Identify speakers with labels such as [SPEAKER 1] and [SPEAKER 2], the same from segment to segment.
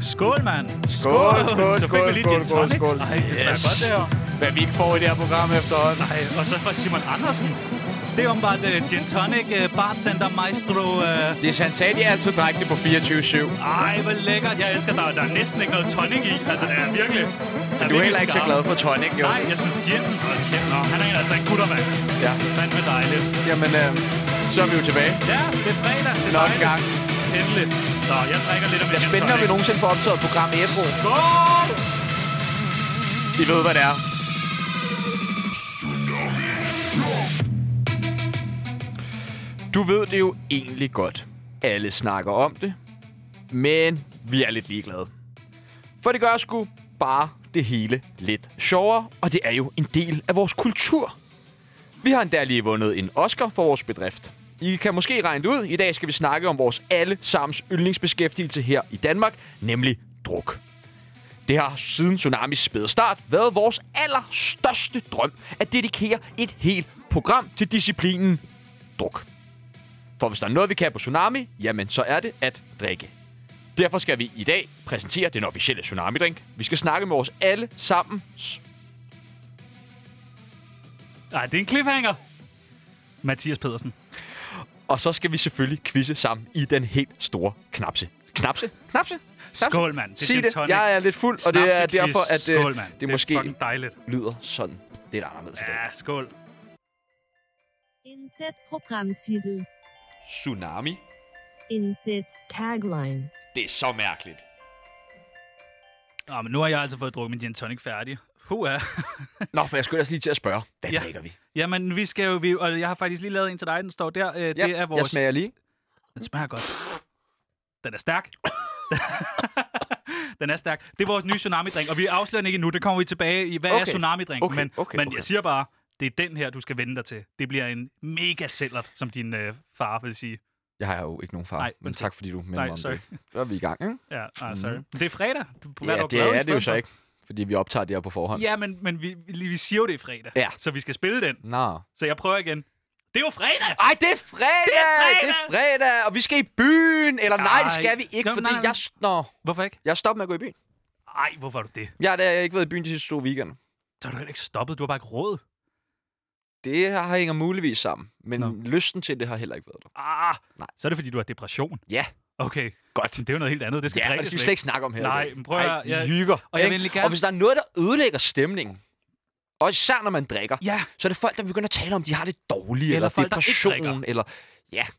[SPEAKER 1] Skål, mand.
[SPEAKER 2] Skål, skål,
[SPEAKER 1] Så fik vi
[SPEAKER 2] skål,
[SPEAKER 1] lige
[SPEAKER 2] skål,
[SPEAKER 1] gin
[SPEAKER 2] skål,
[SPEAKER 1] tonics.
[SPEAKER 2] skål.
[SPEAKER 1] Ej, det smager
[SPEAKER 2] Yes.
[SPEAKER 1] godt, det her.
[SPEAKER 2] Hvad vi ikke får i det her program efterhånden.
[SPEAKER 1] Ej, og så fra Simon Andersen. Det er åbenbart uh, gin tonic, uh, bartender, maestro. Uh,
[SPEAKER 3] Det er han sagde, de altid drak det på 24-7.
[SPEAKER 1] ej, hvor lækkert. Jeg elsker dig. Der er næsten ikke noget tonic i. Altså, det er virkelig... Der
[SPEAKER 3] Du er
[SPEAKER 1] virkelig
[SPEAKER 3] heller ikke så
[SPEAKER 1] skarp.
[SPEAKER 3] glad for tonic, jo.
[SPEAKER 1] Nej, jeg synes, gin... Hold kæft, nå, han er en altså en guttermand.
[SPEAKER 3] Ja.
[SPEAKER 1] Fandme dejligt.
[SPEAKER 3] Jamen, øh, så er vi jo tilbage.
[SPEAKER 1] Ja, det er fredag. Det er
[SPEAKER 3] Nok en
[SPEAKER 1] dejligt.
[SPEAKER 3] gang.
[SPEAKER 1] Endeligt. Nå, jeg drikker lidt af min
[SPEAKER 3] Jeg er spændende, om vi nogensinde får optaget et program i Ebro.
[SPEAKER 1] Skål!
[SPEAKER 3] I ved, hvad det er. Du ved det jo egentlig godt. Alle snakker om det. Men vi er lidt ligeglade. For det gør sgu bare det hele lidt sjovere, og det er jo en del af vores kultur. Vi har endda lige vundet en Oscar for vores bedrift. I kan måske regne det ud. I dag skal vi snakke om vores alle sammens yndlingsbeskæftigelse her i Danmark, nemlig druk. Det har siden Tsunamis spæde start været vores allerstørste drøm at dedikere et helt program til disciplinen druk. For hvis der er noget, vi kan på Tsunami, jamen så er det at drikke. Derfor skal vi i dag præsentere den officielle Tsunami-drink. Vi skal snakke med vores alle sammen.
[SPEAKER 1] Nej, det er en cliffhanger. Mathias Pedersen.
[SPEAKER 3] Og så skal vi selvfølgelig quizze sammen i den helt store knapse. Knapse? Knapse? knapse?
[SPEAKER 1] Skål, mand. Det er
[SPEAKER 3] Sig
[SPEAKER 1] gin
[SPEAKER 3] det.
[SPEAKER 1] tonic.
[SPEAKER 3] Jeg er lidt fuld, og det er
[SPEAKER 1] Snapsequiz.
[SPEAKER 3] derfor, at øh,
[SPEAKER 1] skål, mand.
[SPEAKER 3] det, måske
[SPEAKER 1] er fucking dejligt.
[SPEAKER 3] lyder sådan lidt anderledes i dag.
[SPEAKER 1] Ja, skål.
[SPEAKER 4] Indsæt programtitel.
[SPEAKER 3] Tsunami?
[SPEAKER 4] Indsæt tagline.
[SPEAKER 3] Det er så mærkeligt.
[SPEAKER 1] Nå, men nu har jeg altså fået drukket min gin tonic færdig. Hua.
[SPEAKER 3] Nå, for jeg skulle ellers lige til at spørge, hvad
[SPEAKER 1] Ja.
[SPEAKER 3] ja. drikker vi?
[SPEAKER 1] Jamen, vi skal jo... Vi, og jeg har faktisk lige lavet en til dig, den står der. Øh, det er
[SPEAKER 3] jeg
[SPEAKER 1] vores...
[SPEAKER 3] smager lige.
[SPEAKER 1] Den smager godt. Den er stærk. den er stærk. Det er vores nye tsunami-drink, og vi afslører den ikke endnu. Det kommer vi tilbage i. Hvad okay. er
[SPEAKER 3] Okay.
[SPEAKER 1] tsunami-drink?
[SPEAKER 3] Okay,
[SPEAKER 1] Men,
[SPEAKER 3] okay,
[SPEAKER 1] men
[SPEAKER 3] okay.
[SPEAKER 1] jeg siger bare, det er den her, du skal vende dig til. Det bliver en mega sellert, som din øh, far vil sige.
[SPEAKER 3] Jeg har jo ikke nogen far,
[SPEAKER 1] Nej,
[SPEAKER 3] Nej, men
[SPEAKER 1] undskyld.
[SPEAKER 3] tak fordi du minder
[SPEAKER 1] Nej,
[SPEAKER 3] mig om
[SPEAKER 1] sorry.
[SPEAKER 3] det. Så er vi i gang, ikke?
[SPEAKER 1] Ja, nej, sorry. Mm. Det er fredag. Du burde
[SPEAKER 3] Mhm. ja,
[SPEAKER 1] være
[SPEAKER 3] det
[SPEAKER 1] glad i
[SPEAKER 3] er det jo
[SPEAKER 1] stedet
[SPEAKER 3] så
[SPEAKER 1] for.
[SPEAKER 3] ikke, fordi vi optager det her på forhånd.
[SPEAKER 1] Ja, men, men vi, vi, vi siger jo, det er fredag.
[SPEAKER 3] Ja.
[SPEAKER 1] Så vi skal spille den.
[SPEAKER 3] Nå.
[SPEAKER 1] Så jeg prøver igen. Det er jo fredag!
[SPEAKER 3] Ej, det
[SPEAKER 1] Det
[SPEAKER 3] er fredag!
[SPEAKER 1] er fredag!
[SPEAKER 3] Det er fredag! Og vi skal i byen! Eller nej, det
[SPEAKER 1] Ej.
[SPEAKER 3] skal vi ikke,
[SPEAKER 1] Nå,
[SPEAKER 3] fordi
[SPEAKER 1] nej, nej.
[SPEAKER 3] jeg... s- Nå,
[SPEAKER 1] Hvorfor ikke?
[SPEAKER 3] jeg stopper med at gå i byen.
[SPEAKER 1] Ej, hvorfor er du det?
[SPEAKER 3] Jeg har da ikke været i byen de sidste to weekender.
[SPEAKER 1] Så har du heller ikke stoppet. Du har bare ikke råd.
[SPEAKER 3] Det har hænger muligvis sammen, men
[SPEAKER 1] Nå.
[SPEAKER 3] lysten til det har heller ikke været der.
[SPEAKER 1] Ah,
[SPEAKER 3] Nej.
[SPEAKER 1] Så er det, fordi du har depression.
[SPEAKER 3] Ja,
[SPEAKER 1] Okay,
[SPEAKER 3] godt.
[SPEAKER 1] men det er jo noget helt andet. Det skal
[SPEAKER 3] Ja, og
[SPEAKER 1] drikkes
[SPEAKER 3] det skal vi slet ikke snakke om her. i
[SPEAKER 1] Nej,
[SPEAKER 3] dag.
[SPEAKER 1] men prøv at
[SPEAKER 3] Ej,
[SPEAKER 1] høre,
[SPEAKER 3] vi
[SPEAKER 1] jeg-
[SPEAKER 3] hygger.
[SPEAKER 1] og jeg vil
[SPEAKER 3] ikke?
[SPEAKER 1] egentlig gerne-
[SPEAKER 3] og hvis der er noget, der ødelægger stemningen, og især når man drikker,
[SPEAKER 1] Ja,
[SPEAKER 3] så er det folk, der begynder at tale om, de har det dårligt, eller,
[SPEAKER 1] Eller
[SPEAKER 3] eller
[SPEAKER 1] folk, der ikke
[SPEAKER 3] depression,
[SPEAKER 1] drikker.
[SPEAKER 3] eller...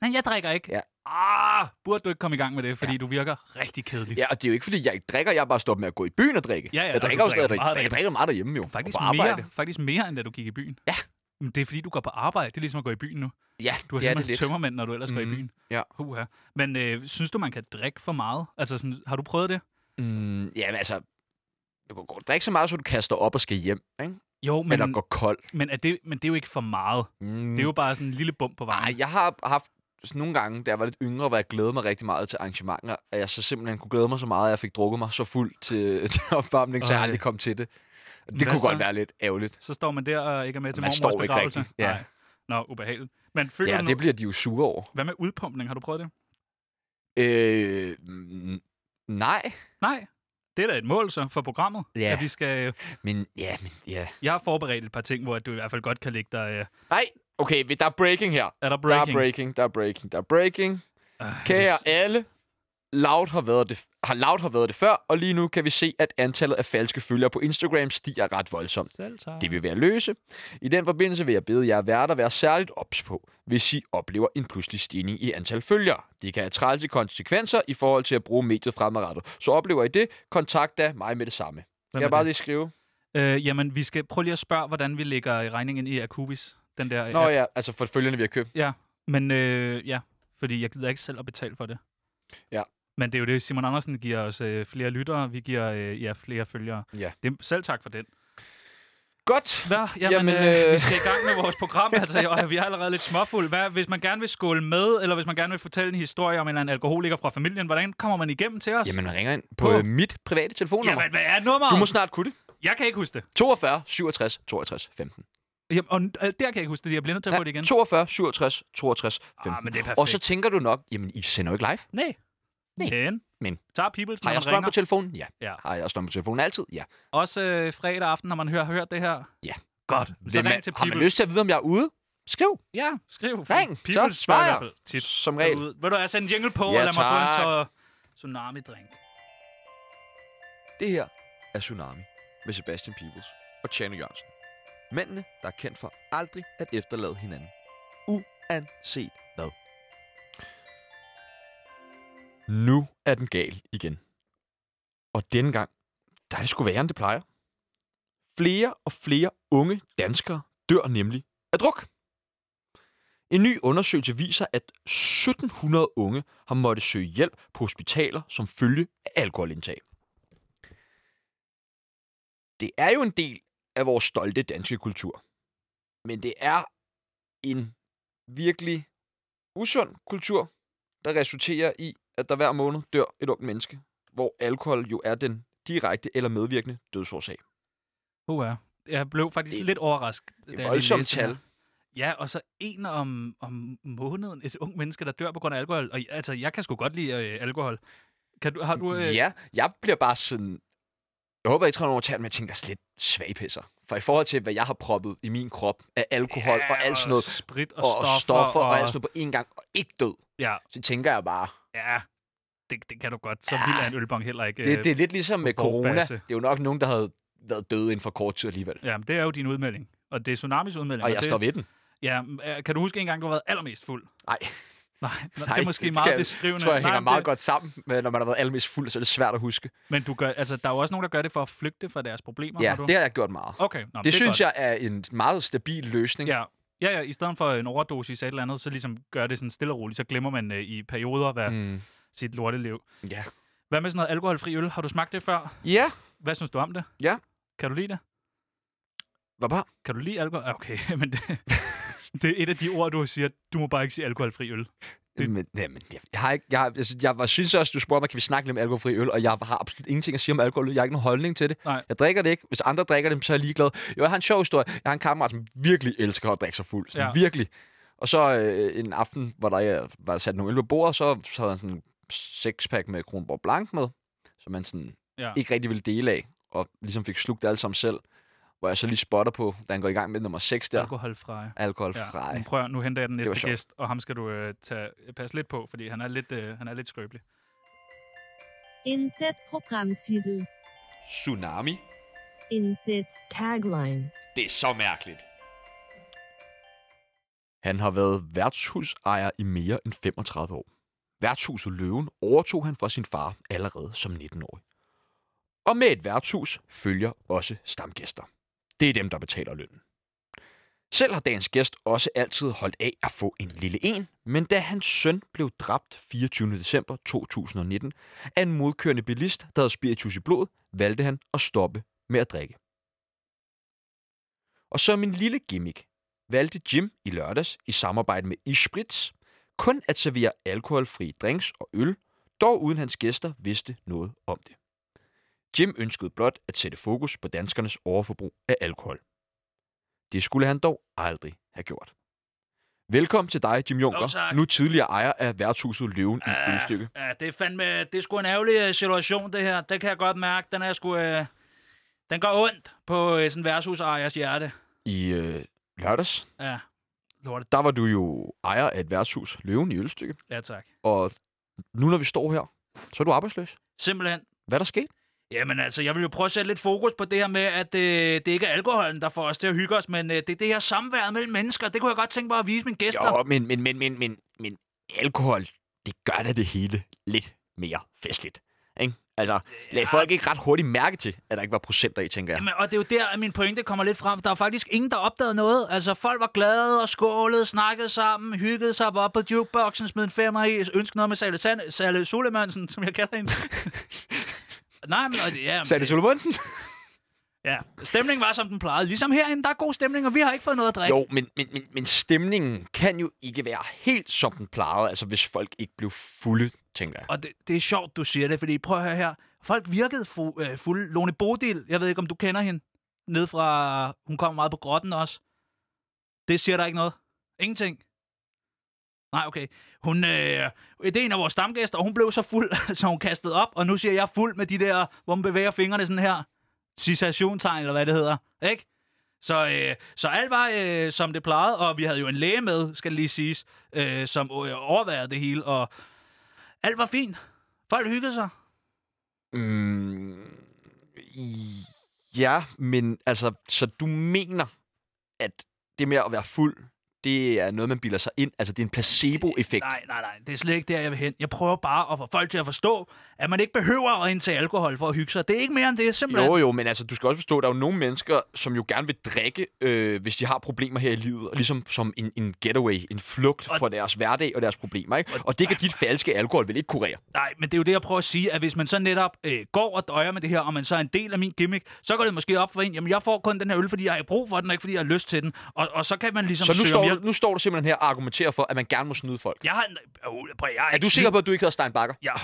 [SPEAKER 1] nej, jeg drikker ikke.
[SPEAKER 3] Ja.
[SPEAKER 1] Ah, burde du ikke komme i gang med det, fordi ja. du virker rigtig kedelig.
[SPEAKER 3] Ja, og det er jo ikke, fordi jeg ikke drikker, jeg er bare stoppet med at gå i byen og drikke.
[SPEAKER 1] Ja, ja, og
[SPEAKER 3] jeg
[SPEAKER 1] du
[SPEAKER 3] drikker jo
[SPEAKER 1] drikker
[SPEAKER 3] stadig,
[SPEAKER 1] meget
[SPEAKER 3] jeg
[SPEAKER 1] derhjemme.
[SPEAKER 3] drikker meget derhjemme jo,
[SPEAKER 1] Faktisk
[SPEAKER 3] og på arbejde.
[SPEAKER 1] mere, faktisk mere, end da du gik i byen.
[SPEAKER 3] Ja.
[SPEAKER 1] Men det er, fordi du går på arbejde. Det er ligesom at gå i byen nu.
[SPEAKER 3] Ja,
[SPEAKER 1] Du har
[SPEAKER 3] det er det
[SPEAKER 1] simpelthen
[SPEAKER 3] lidt.
[SPEAKER 1] tømmermænd, når du ellers går i
[SPEAKER 3] Mhm.
[SPEAKER 1] byen.
[SPEAKER 3] Ja.
[SPEAKER 1] Huha. Men øh, synes du, man kan drikke for meget? Altså, sådan, har du prøvet det?
[SPEAKER 3] Mm, ja, men altså, du kan godt drikke så meget, så du kaster op og skal hjem, ikke?
[SPEAKER 1] Jo, men...
[SPEAKER 3] Men, eller går kold.
[SPEAKER 1] Men er det, men det er jo ikke for meget. Mm.
[SPEAKER 3] Mm.
[SPEAKER 1] Det er jo bare sådan en lille bump på vejen.
[SPEAKER 3] Ej, jeg har haft sådan nogle gange, da jeg var lidt yngre, hvor jeg glædede mig rigtig meget til arrangementer, at jeg så simpelthen kunne glæde mig så meget, at jeg fik drukket mig så fuld til, til opvarmning, så jeg
[SPEAKER 1] Ej.
[SPEAKER 3] aldrig kom til det. Det
[SPEAKER 1] Hvad
[SPEAKER 3] kunne
[SPEAKER 1] så?
[SPEAKER 3] godt være lidt ærgerligt.
[SPEAKER 1] Så står man der og ikke er med til
[SPEAKER 3] Man
[SPEAKER 1] mormors
[SPEAKER 3] står ikke
[SPEAKER 1] begravelse.
[SPEAKER 3] rigtigt, ja.
[SPEAKER 1] Nej. Nå, ubehageligt. Men føler
[SPEAKER 3] Ja,
[SPEAKER 1] du
[SPEAKER 3] det
[SPEAKER 1] det
[SPEAKER 3] bliver de jo sure over.
[SPEAKER 1] Hvad med udpumpning? Har du prøvet det?
[SPEAKER 3] Øh, mm, nej,
[SPEAKER 1] Nej. Det er da et mål så for programmet.
[SPEAKER 3] Ja.
[SPEAKER 1] At vi skal, øh,
[SPEAKER 3] men ja, men ja.
[SPEAKER 1] jeg har forberedt et par ting, hvor du i hvert fald godt kan lægge dig... øh,
[SPEAKER 3] Nej, okay, vi- der er breaking her.
[SPEAKER 1] Er der
[SPEAKER 3] Breaking.
[SPEAKER 1] breaking?
[SPEAKER 3] Der er breaking, der er breaking, der er breaking.
[SPEAKER 1] Øh,
[SPEAKER 3] Kære
[SPEAKER 1] hvis-
[SPEAKER 3] alle, Loud har, været det, har Loud har været det før, og lige nu kan vi se, at antallet af falske følgere på Instagram stiger ret voldsomt.
[SPEAKER 1] Selv tak.
[SPEAKER 3] Det vil være løse. I den forbindelse vil jeg bede jer værter være særligt ops på, hvis I oplever en pludselig stigning i antal følgere. Det kan have trælse konsekvenser i forhold til at bruge mediet fremadrettet. Så oplever I det, kontakt da mig med det samme. Kan
[SPEAKER 1] er
[SPEAKER 3] jeg bare
[SPEAKER 1] det?
[SPEAKER 3] lige skrive?
[SPEAKER 1] Øh, jamen, vi skal prøve lige at spørge, hvordan vi lægger regningen i Akubis. Den der... øh,
[SPEAKER 3] Nå
[SPEAKER 1] app.
[SPEAKER 3] ja, altså for følgerne, vi har købt.
[SPEAKER 1] Ja, men øh, ja, fordi jeg gider ikke selv at betale for det.
[SPEAKER 3] Ja.
[SPEAKER 1] Men det er jo det, Simon Andersen giver os øh, flere lyttere, vi giver øh, ja, flere følgere.
[SPEAKER 3] Ja.
[SPEAKER 1] Det, selv tak for den.
[SPEAKER 3] Godt.
[SPEAKER 1] Nå, jamen,
[SPEAKER 3] Jamen,
[SPEAKER 1] jamen øh, vi
[SPEAKER 3] øh.
[SPEAKER 1] skal i gang med vores program, altså, og vi er allerede lidt småfulde. Hvad, hvis man gerne vil skåle med, eller hvis man gerne vil fortælle en historie om en eller anden alkoholiker fra familien, hvordan kommer man igennem til os?
[SPEAKER 3] Jamen, ringer ind
[SPEAKER 1] På.
[SPEAKER 3] på øh, mit private telefonnummer.
[SPEAKER 1] jamen hvad er nummeret?
[SPEAKER 3] Du må snart kunne det.
[SPEAKER 1] Jeg kan ikke huske det.
[SPEAKER 3] 42 67 62 15.
[SPEAKER 1] Jamen, og øh, der kan jeg ikke huske det, jeg bliver nødt til at få det igen.
[SPEAKER 3] 42 67 62 15.
[SPEAKER 1] Ah, men det er perfekt.
[SPEAKER 3] Og så tænker du nok, jamen I sender jo ikke live.
[SPEAKER 1] Nej,
[SPEAKER 3] Nej.
[SPEAKER 1] Men,
[SPEAKER 3] Men.
[SPEAKER 1] tager Peoples,
[SPEAKER 3] Har
[SPEAKER 1] når
[SPEAKER 3] jeg
[SPEAKER 1] man
[SPEAKER 3] strøm
[SPEAKER 1] ringer.
[SPEAKER 3] på telefonen? Ja.
[SPEAKER 1] Ja.
[SPEAKER 3] Har jeg strøm på telefonen altid? Ja.
[SPEAKER 1] Også øh, fredag aften, når man hører, har hørt det her.
[SPEAKER 3] Ja.
[SPEAKER 1] Godt. Så
[SPEAKER 3] Hvem er-
[SPEAKER 1] ring til
[SPEAKER 3] har man
[SPEAKER 1] Peoples.
[SPEAKER 3] lyst til at vide, om jeg er ude? Skriv.
[SPEAKER 1] Ja, skriv.
[SPEAKER 3] Ring, så
[SPEAKER 1] Peoples
[SPEAKER 3] svarer
[SPEAKER 1] i
[SPEAKER 3] jeg.
[SPEAKER 1] hvert fald tit.
[SPEAKER 3] Som regel.
[SPEAKER 1] derude. Vil du have sendt en jingle på,
[SPEAKER 3] Ja,
[SPEAKER 1] ja, og lad mig få en
[SPEAKER 3] tak.
[SPEAKER 1] tår tsunami-drink?
[SPEAKER 5] Det her er Tsunami med Sebastian Peebles og Tjano Jørgensen. Mændene, der er kendt for aldrig at efterlade hinanden. Uanset hvad.
[SPEAKER 3] Nu er den gal igen. Og denne gang, der er det sgu værre, end det plejer. Flere og flere unge danskere dør nemlig af druk. En ny undersøgelse viser, at 1700 unge har måttet søge hjælp på hospitaler som følge af alkoholindtag. Det er jo en del af vores stolte danske kultur. Men det er en virkelig usund kultur, der resulterer i, at der hver måned dør et ungt menneske, hvor alkohol jo er den direkte eller medvirkende dødsårsag.
[SPEAKER 1] Uha. Jeg blev faktisk
[SPEAKER 3] Det-
[SPEAKER 1] lidt overrasket. da jeg
[SPEAKER 3] Det
[SPEAKER 1] lige
[SPEAKER 3] er voldsomt
[SPEAKER 1] læste det
[SPEAKER 3] tal.
[SPEAKER 1] her. Ja, og så en om, om måneden, et ung menneske, der dør på grund af alkohol. Og altså, jeg kan sgu godt lide øh, alkohol. Kan du, har du... Øh,
[SPEAKER 3] Ja, jeg bliver bare sådan... Jeg håber ikke, at over tæren, men jeg tænker sådan lidt svagpisser. For i forhold til, hvad jeg har proppet i min krop af alkohol ja, og alt sådan noget,
[SPEAKER 1] Sprit og,
[SPEAKER 3] og, og stoffer, og, og alt sådan noget på én gang, og ikke død,
[SPEAKER 1] Ja,
[SPEAKER 3] så tænker jeg bare,
[SPEAKER 1] ja. Det, det kan du godt. Så
[SPEAKER 3] Ja.
[SPEAKER 1] vild er en ølbong heller ikke. øh,
[SPEAKER 3] det, det er lidt ligesom med
[SPEAKER 1] på Borg
[SPEAKER 3] corona.
[SPEAKER 1] Basse.
[SPEAKER 3] Det er jo nok nogen, der havde været døde inden for kort tid alligevel.
[SPEAKER 1] Ja, men det er jo din udmelding. Og det er Tsunamis udmelding.
[SPEAKER 3] Og jeg
[SPEAKER 1] det,
[SPEAKER 3] står ved den.
[SPEAKER 1] Ja, men, øh, kan du huske en gang, du har været allermest fuld?
[SPEAKER 3] Nej.
[SPEAKER 1] Nej, nej,
[SPEAKER 3] Nej,
[SPEAKER 1] det er måske
[SPEAKER 3] det
[SPEAKER 1] meget
[SPEAKER 3] skal-
[SPEAKER 1] beskrivende.
[SPEAKER 3] Jeg tror, jeg
[SPEAKER 1] nej,
[SPEAKER 3] hænger
[SPEAKER 1] men
[SPEAKER 3] meget
[SPEAKER 1] det,
[SPEAKER 3] godt sammen, med, når man har været allermest fuld, så er det svært at huske.
[SPEAKER 1] Men du gør, altså, der er jo også nogen, der gør det for at flygte fra deres problemer.
[SPEAKER 3] Ja,
[SPEAKER 1] har du?
[SPEAKER 3] det har jeg gjort meget.
[SPEAKER 1] Okay, nå,
[SPEAKER 3] Det, det synes
[SPEAKER 1] er
[SPEAKER 3] jeg er en meget stabil løsning.
[SPEAKER 1] godt. Ja. Ja, ja, i stedet for en overdosis af et eller andet, så ligesom gør det sådan stille og roligt, så glemmer man øh, i perioder hvad mm.
[SPEAKER 3] Mm.
[SPEAKER 1] sit lorteliv.
[SPEAKER 3] Ja.
[SPEAKER 1] Hvad med sådan noget alkoholfri øl? Har du smagt det før?
[SPEAKER 3] Ja,
[SPEAKER 1] Hvad synes du om det?
[SPEAKER 3] Ja.
[SPEAKER 1] Kan du lide det?
[SPEAKER 3] hvad bare?
[SPEAKER 1] Kan du lide alkohol? Ah, Okay, men det, det er et af de ord, du siger, du må bare ikke sige alkoholfri øl. Det-
[SPEAKER 3] Men, jamen, jeg, jeg, har ikke, jeg, har- altså, jeg var, synes også, du spurgte mig, kan vi snakke lidt om alkoholfri øl, og jeg har absolut ingenting at sige om alkohol. Jeg har ikke nogen holdning til det.
[SPEAKER 1] Nej.
[SPEAKER 3] Jeg drikker det ikke. Hvis andre drikker det, så er jeg ligeglad. Jo, jeg har en sjov historie. Jeg har en kammerat, som virkelig elsker at drikke sig fuld. Sådan,
[SPEAKER 1] Ja.
[SPEAKER 3] Virkelig. Og så øh, en aften, hvor der øh, var sat nogle øl på bordet, så, så havde han sådan en sexpack med Kronborg Blanc med, som man sådan
[SPEAKER 1] Ja.
[SPEAKER 3] ikke rigtig ville dele af, og ligesom fik slugt alle sammen selv. Hvor jeg så lige spotter på, da han går i gang med nummer 6 der.
[SPEAKER 1] Alkoholfri.
[SPEAKER 3] Alkoholfri.
[SPEAKER 1] nu prøver, nu henter jeg den
[SPEAKER 3] var
[SPEAKER 1] næste
[SPEAKER 3] sjovt.
[SPEAKER 1] gæst, og ham skal du øh, tage, passe lidt på, fordi han er lidt, øh, han er lidt skrøbelig.
[SPEAKER 4] Inset programtitel.
[SPEAKER 5] Tsunami?
[SPEAKER 4] Inset tagline.
[SPEAKER 5] Det er så mærkeligt.
[SPEAKER 3] Han har været værtshusejer i mere end 35 år. Værtshuset Løven overtog han fra sin far allerede som 19-årig. Og med et værtshus følger også stamgæster. Det er dem, der betaler lønnen. Selv har dagens gæst også altid holdt af at få en lille en, men da hans søn blev dræbt 24. december 2019 af en modkørende bilist, der havde spiritus i blodet, valgte han at stoppe med at drikke. Og som en lille gimmick valgte Jim i lørdags i samarbejde med Ispritz kun at servere alkoholfri drinks og øl, dog uden hans gæster vidste noget om det. Jim ønskede blot at sætte fokus på danskernes overforbrug af alkohol. Det skulle han dog aldrig have gjort. Velkommen til dig, Jim
[SPEAKER 1] Jo,
[SPEAKER 3] Junker,
[SPEAKER 1] tak. Ah.
[SPEAKER 3] nu tidligere ejer af værtshuset Løven i Ølstykke.
[SPEAKER 1] ja, det er fandme, det er sgu en ærgerlig øh, situation, det her. Det kan jeg godt mærke. Den er sgu, øh, den går ondt på øh, sådan værtshusejers hjerte.
[SPEAKER 3] I øh, lørdags,
[SPEAKER 1] Ja, lortet.
[SPEAKER 3] der var du jo ejer af et værtshus, Løven i Ølstykke.
[SPEAKER 1] Ja, tak.
[SPEAKER 3] Og nu når vi står her, så er du arbejdsløs.
[SPEAKER 1] Simpelthen.
[SPEAKER 3] Hvad er der sket?
[SPEAKER 1] Jamen altså, jeg vil jo prøve at sætte lidt fokus på det her med, at øh, det ikke er alkoholen, der får os til at hygge os, men øh, det er det her samvær mellem mennesker. Det kunne jeg godt tænke mig at vise mine gæster.
[SPEAKER 3] Jo, men, men, men, men, men, men alkohol, det gør da det hele lidt mere festligt. Ikke? Altså, lad folk ikke ret hurtigt mærke til, at der ikke var procenter i, tænker jeg.
[SPEAKER 1] Jamen, og det er jo der, at min pointe kommer lidt frem. Der er faktisk ingen, der opdagede noget. Altså, folk var glade og skålede, snakkede sammen, hyggede sig, var på jukeboxen, smed en femmer i, ønskede noget med Sale, Sand- Sale Sulemansen, som jeg kalder hende. Nej, men og det- ja,
[SPEAKER 3] Sagde det Solomonsen?
[SPEAKER 1] ja. Stemningen var, som den plejede. Ligesom herinde, der er god stemning, og vi har ikke fået noget at drikke.
[SPEAKER 3] Jo, men, men, men, men stemningen kan jo ikke være helt som den plejede, altså hvis folk ikke blev fulde, tænker jeg.
[SPEAKER 1] Og det, det er sjovt, du siger det, fordi prøv at høre her. Folk virkede fu- øh, fulde. Lone Bodil, jeg ved ikke, om du kender hende. Ned fra, hun kom meget på grotten også. Det siger der ikke noget. Ingenting. Nej, okay. Hun, øh, det er en af vores stamgæster, og hun blev så fuld, så hun kastede op. Og nu siger jeg fuld med de der, hvor man bevæger fingrene sådan her. Citationstegn, eller hvad det hedder. Ikke? Så, øh, så alt var, øh, som det plejede, og vi havde jo en læge med, skal det lige siges, øh, som øh, overvejede det hele, og alt var fint. Folk hyggede sig.
[SPEAKER 3] Mm, i- ja, men altså, så du mener, at det med at være fuld, det er noget, man bilder sig ind. Altså, det er en placebo-effekt.
[SPEAKER 1] Nej, nej, nej. Det er slet ikke der, jeg vil hen. Jeg prøver bare at få folk til at forstå, at man ikke behøver at indtage alkohol for at hygge sig. Det er ikke mere end det, simpelthen.
[SPEAKER 3] Jo, jo, men altså, du skal også forstå, at der er jo nogle mennesker, som jo gerne vil drikke, øh, hvis de har problemer her i livet, og ligesom som en, en getaway, en flugt
[SPEAKER 1] Og-
[SPEAKER 3] fra deres hverdag og deres problemer, ikke? Og det kan dit falske alkohol vel ikke kurere.
[SPEAKER 1] Nej, men det er jo det, jeg prøver at sige, at hvis man så netop øh, går og døjer med det her, og man så er en del af min gimmick, så går det måske op for en, jamen jeg får kun den her øl, fordi jeg har brug for den, og ikke fordi jeg har lyst til den. Og, og så kan man ligesom
[SPEAKER 3] Så nu
[SPEAKER 1] søge om
[SPEAKER 3] står,
[SPEAKER 1] hjælp.
[SPEAKER 3] du, nu står du simpelthen her og argumenterer for, at man gerne må snyde folk.
[SPEAKER 1] Jeg har... Øh, prøv, jeg
[SPEAKER 3] Er du sikker på, at du ikke hedder Stein Bakker?
[SPEAKER 1] Ja, åh,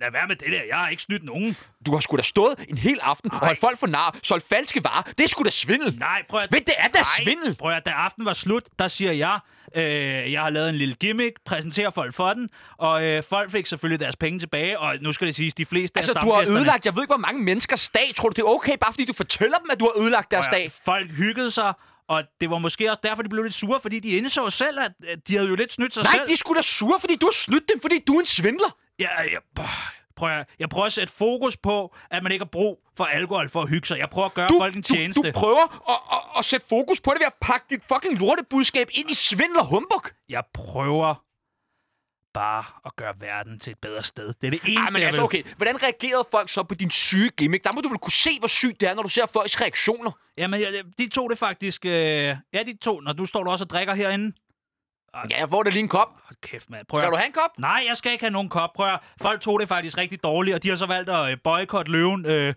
[SPEAKER 1] lad være med det der. Jeg har ikke snydt nogen.
[SPEAKER 3] Du har sgu da stået en hel aften og holdt folk for nar, solgt falske varer. Det er sgu da svindel.
[SPEAKER 1] Nej, prøv at...
[SPEAKER 3] Men det er da
[SPEAKER 1] Nej,
[SPEAKER 3] svindel.
[SPEAKER 1] Prøv at, da aftenen var slut, der siger jeg, øh, jeg har lavet en lille gimmick, præsenterer folk for den, og øh, folk fik selvfølgelig deres penge tilbage, og nu skal det siges, de fleste
[SPEAKER 3] Altså,
[SPEAKER 1] af
[SPEAKER 3] du har
[SPEAKER 1] stamgæsterne-
[SPEAKER 3] ødelagt, jeg ved ikke, hvor mange menneskers dag. Tror du, det er okay, bare fordi du fortæller dem, at du har ødelagt deres
[SPEAKER 1] Prøv at-
[SPEAKER 3] dag?
[SPEAKER 1] Folk hyggede sig, og det var måske også derfor, de blev lidt sure, fordi de indså selv, at at de havde jo lidt snydt sig
[SPEAKER 3] Nej,
[SPEAKER 1] selv.
[SPEAKER 3] de er sgu da sure, fordi du har snydt dem, fordi du er en svindler.
[SPEAKER 1] Ja, jeg, pah, prøv at, jeg prøver at sætte fokus på, at man ikke har brug for alkohol for at hygge sig. Jeg prøver at gøre
[SPEAKER 3] du,
[SPEAKER 1] folk en
[SPEAKER 3] Du,
[SPEAKER 1] tjeneste.
[SPEAKER 3] du prøver at, at, at sætte fokus på det ved at pakke dit fucking lortebudskab ind i svindel og humbug.
[SPEAKER 1] Jeg prøver bare at gøre verden til et bedre sted. Det er det eneste,
[SPEAKER 3] Ej, men
[SPEAKER 1] jeg
[SPEAKER 3] altså
[SPEAKER 1] vil.
[SPEAKER 3] okay, hvordan reagerede folk så på din syge gimmick? Der må du vel kunne se, hvor sygt det er, når du ser folks reaktioner.
[SPEAKER 1] Jamen, jeg, de to det faktisk... Øh, ja, de to. Når du står du også og drikker herinde.
[SPEAKER 3] Ja, jeg får da lige en kop.
[SPEAKER 1] Hold kæft, mand. Prøv at-
[SPEAKER 3] Skal du have en kop?
[SPEAKER 1] Nej, jeg skal ikke have nogen kop. Prøv at, høre, folk tog det faktisk rigtig dårligt, og de har så valgt at øh, boykotte løven. Øh,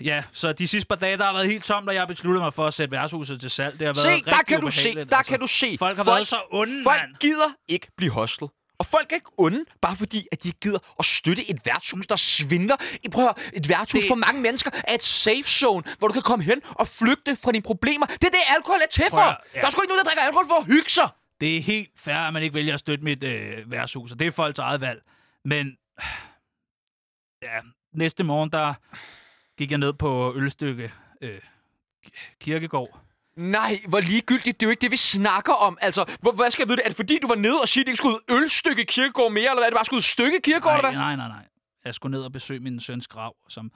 [SPEAKER 1] ja, så de sidste par dage, der har været helt tomt, og jeg har besluttet mig for at sætte værtshuset til salg. Det har været
[SPEAKER 3] Se, der
[SPEAKER 1] rigtig
[SPEAKER 3] kan du se, der
[SPEAKER 1] ubehageligt, altså.
[SPEAKER 3] kan du se.
[SPEAKER 1] Folk har været så onde,
[SPEAKER 3] Folk
[SPEAKER 1] mand.
[SPEAKER 3] gider ikke blive hostlet. Og folk er ikke onde, bare fordi, at de ikke gider at støtte et værtshus, der svindler. I prøver et værtshus
[SPEAKER 1] Det-
[SPEAKER 3] det... for mange mennesker er et safe zone, hvor du kan komme hen og flygte fra dine problemer. Det er det, alkohol er til
[SPEAKER 1] Prøv
[SPEAKER 3] for.
[SPEAKER 1] at-
[SPEAKER 3] Ja.
[SPEAKER 1] ja.
[SPEAKER 3] Der er sgu ikke nogen, der drikker alkohol for at hygge sig.
[SPEAKER 1] Det er helt fair, at man ikke vælger at støtte mit øh, værtshus, og det er folks eget valg. Men ja, næste morgen, der gik jeg ned på Ølstykke øh, Kirkegård.
[SPEAKER 3] Nej, hvor ligegyldigt. Det er jo ikke det, vi snakker om. Altså, hvor, hvad skal jeg vide det? Er det fordi, du var nede og sige, at det ikke skulle ud ølstykke kirkegård mere, eller hvad? Er det bare skulle ud stykke kirkegård, eller
[SPEAKER 1] nej, nej,
[SPEAKER 3] hvad?
[SPEAKER 1] nej, nej. Jeg skulle ned og besøge min søns grav, som...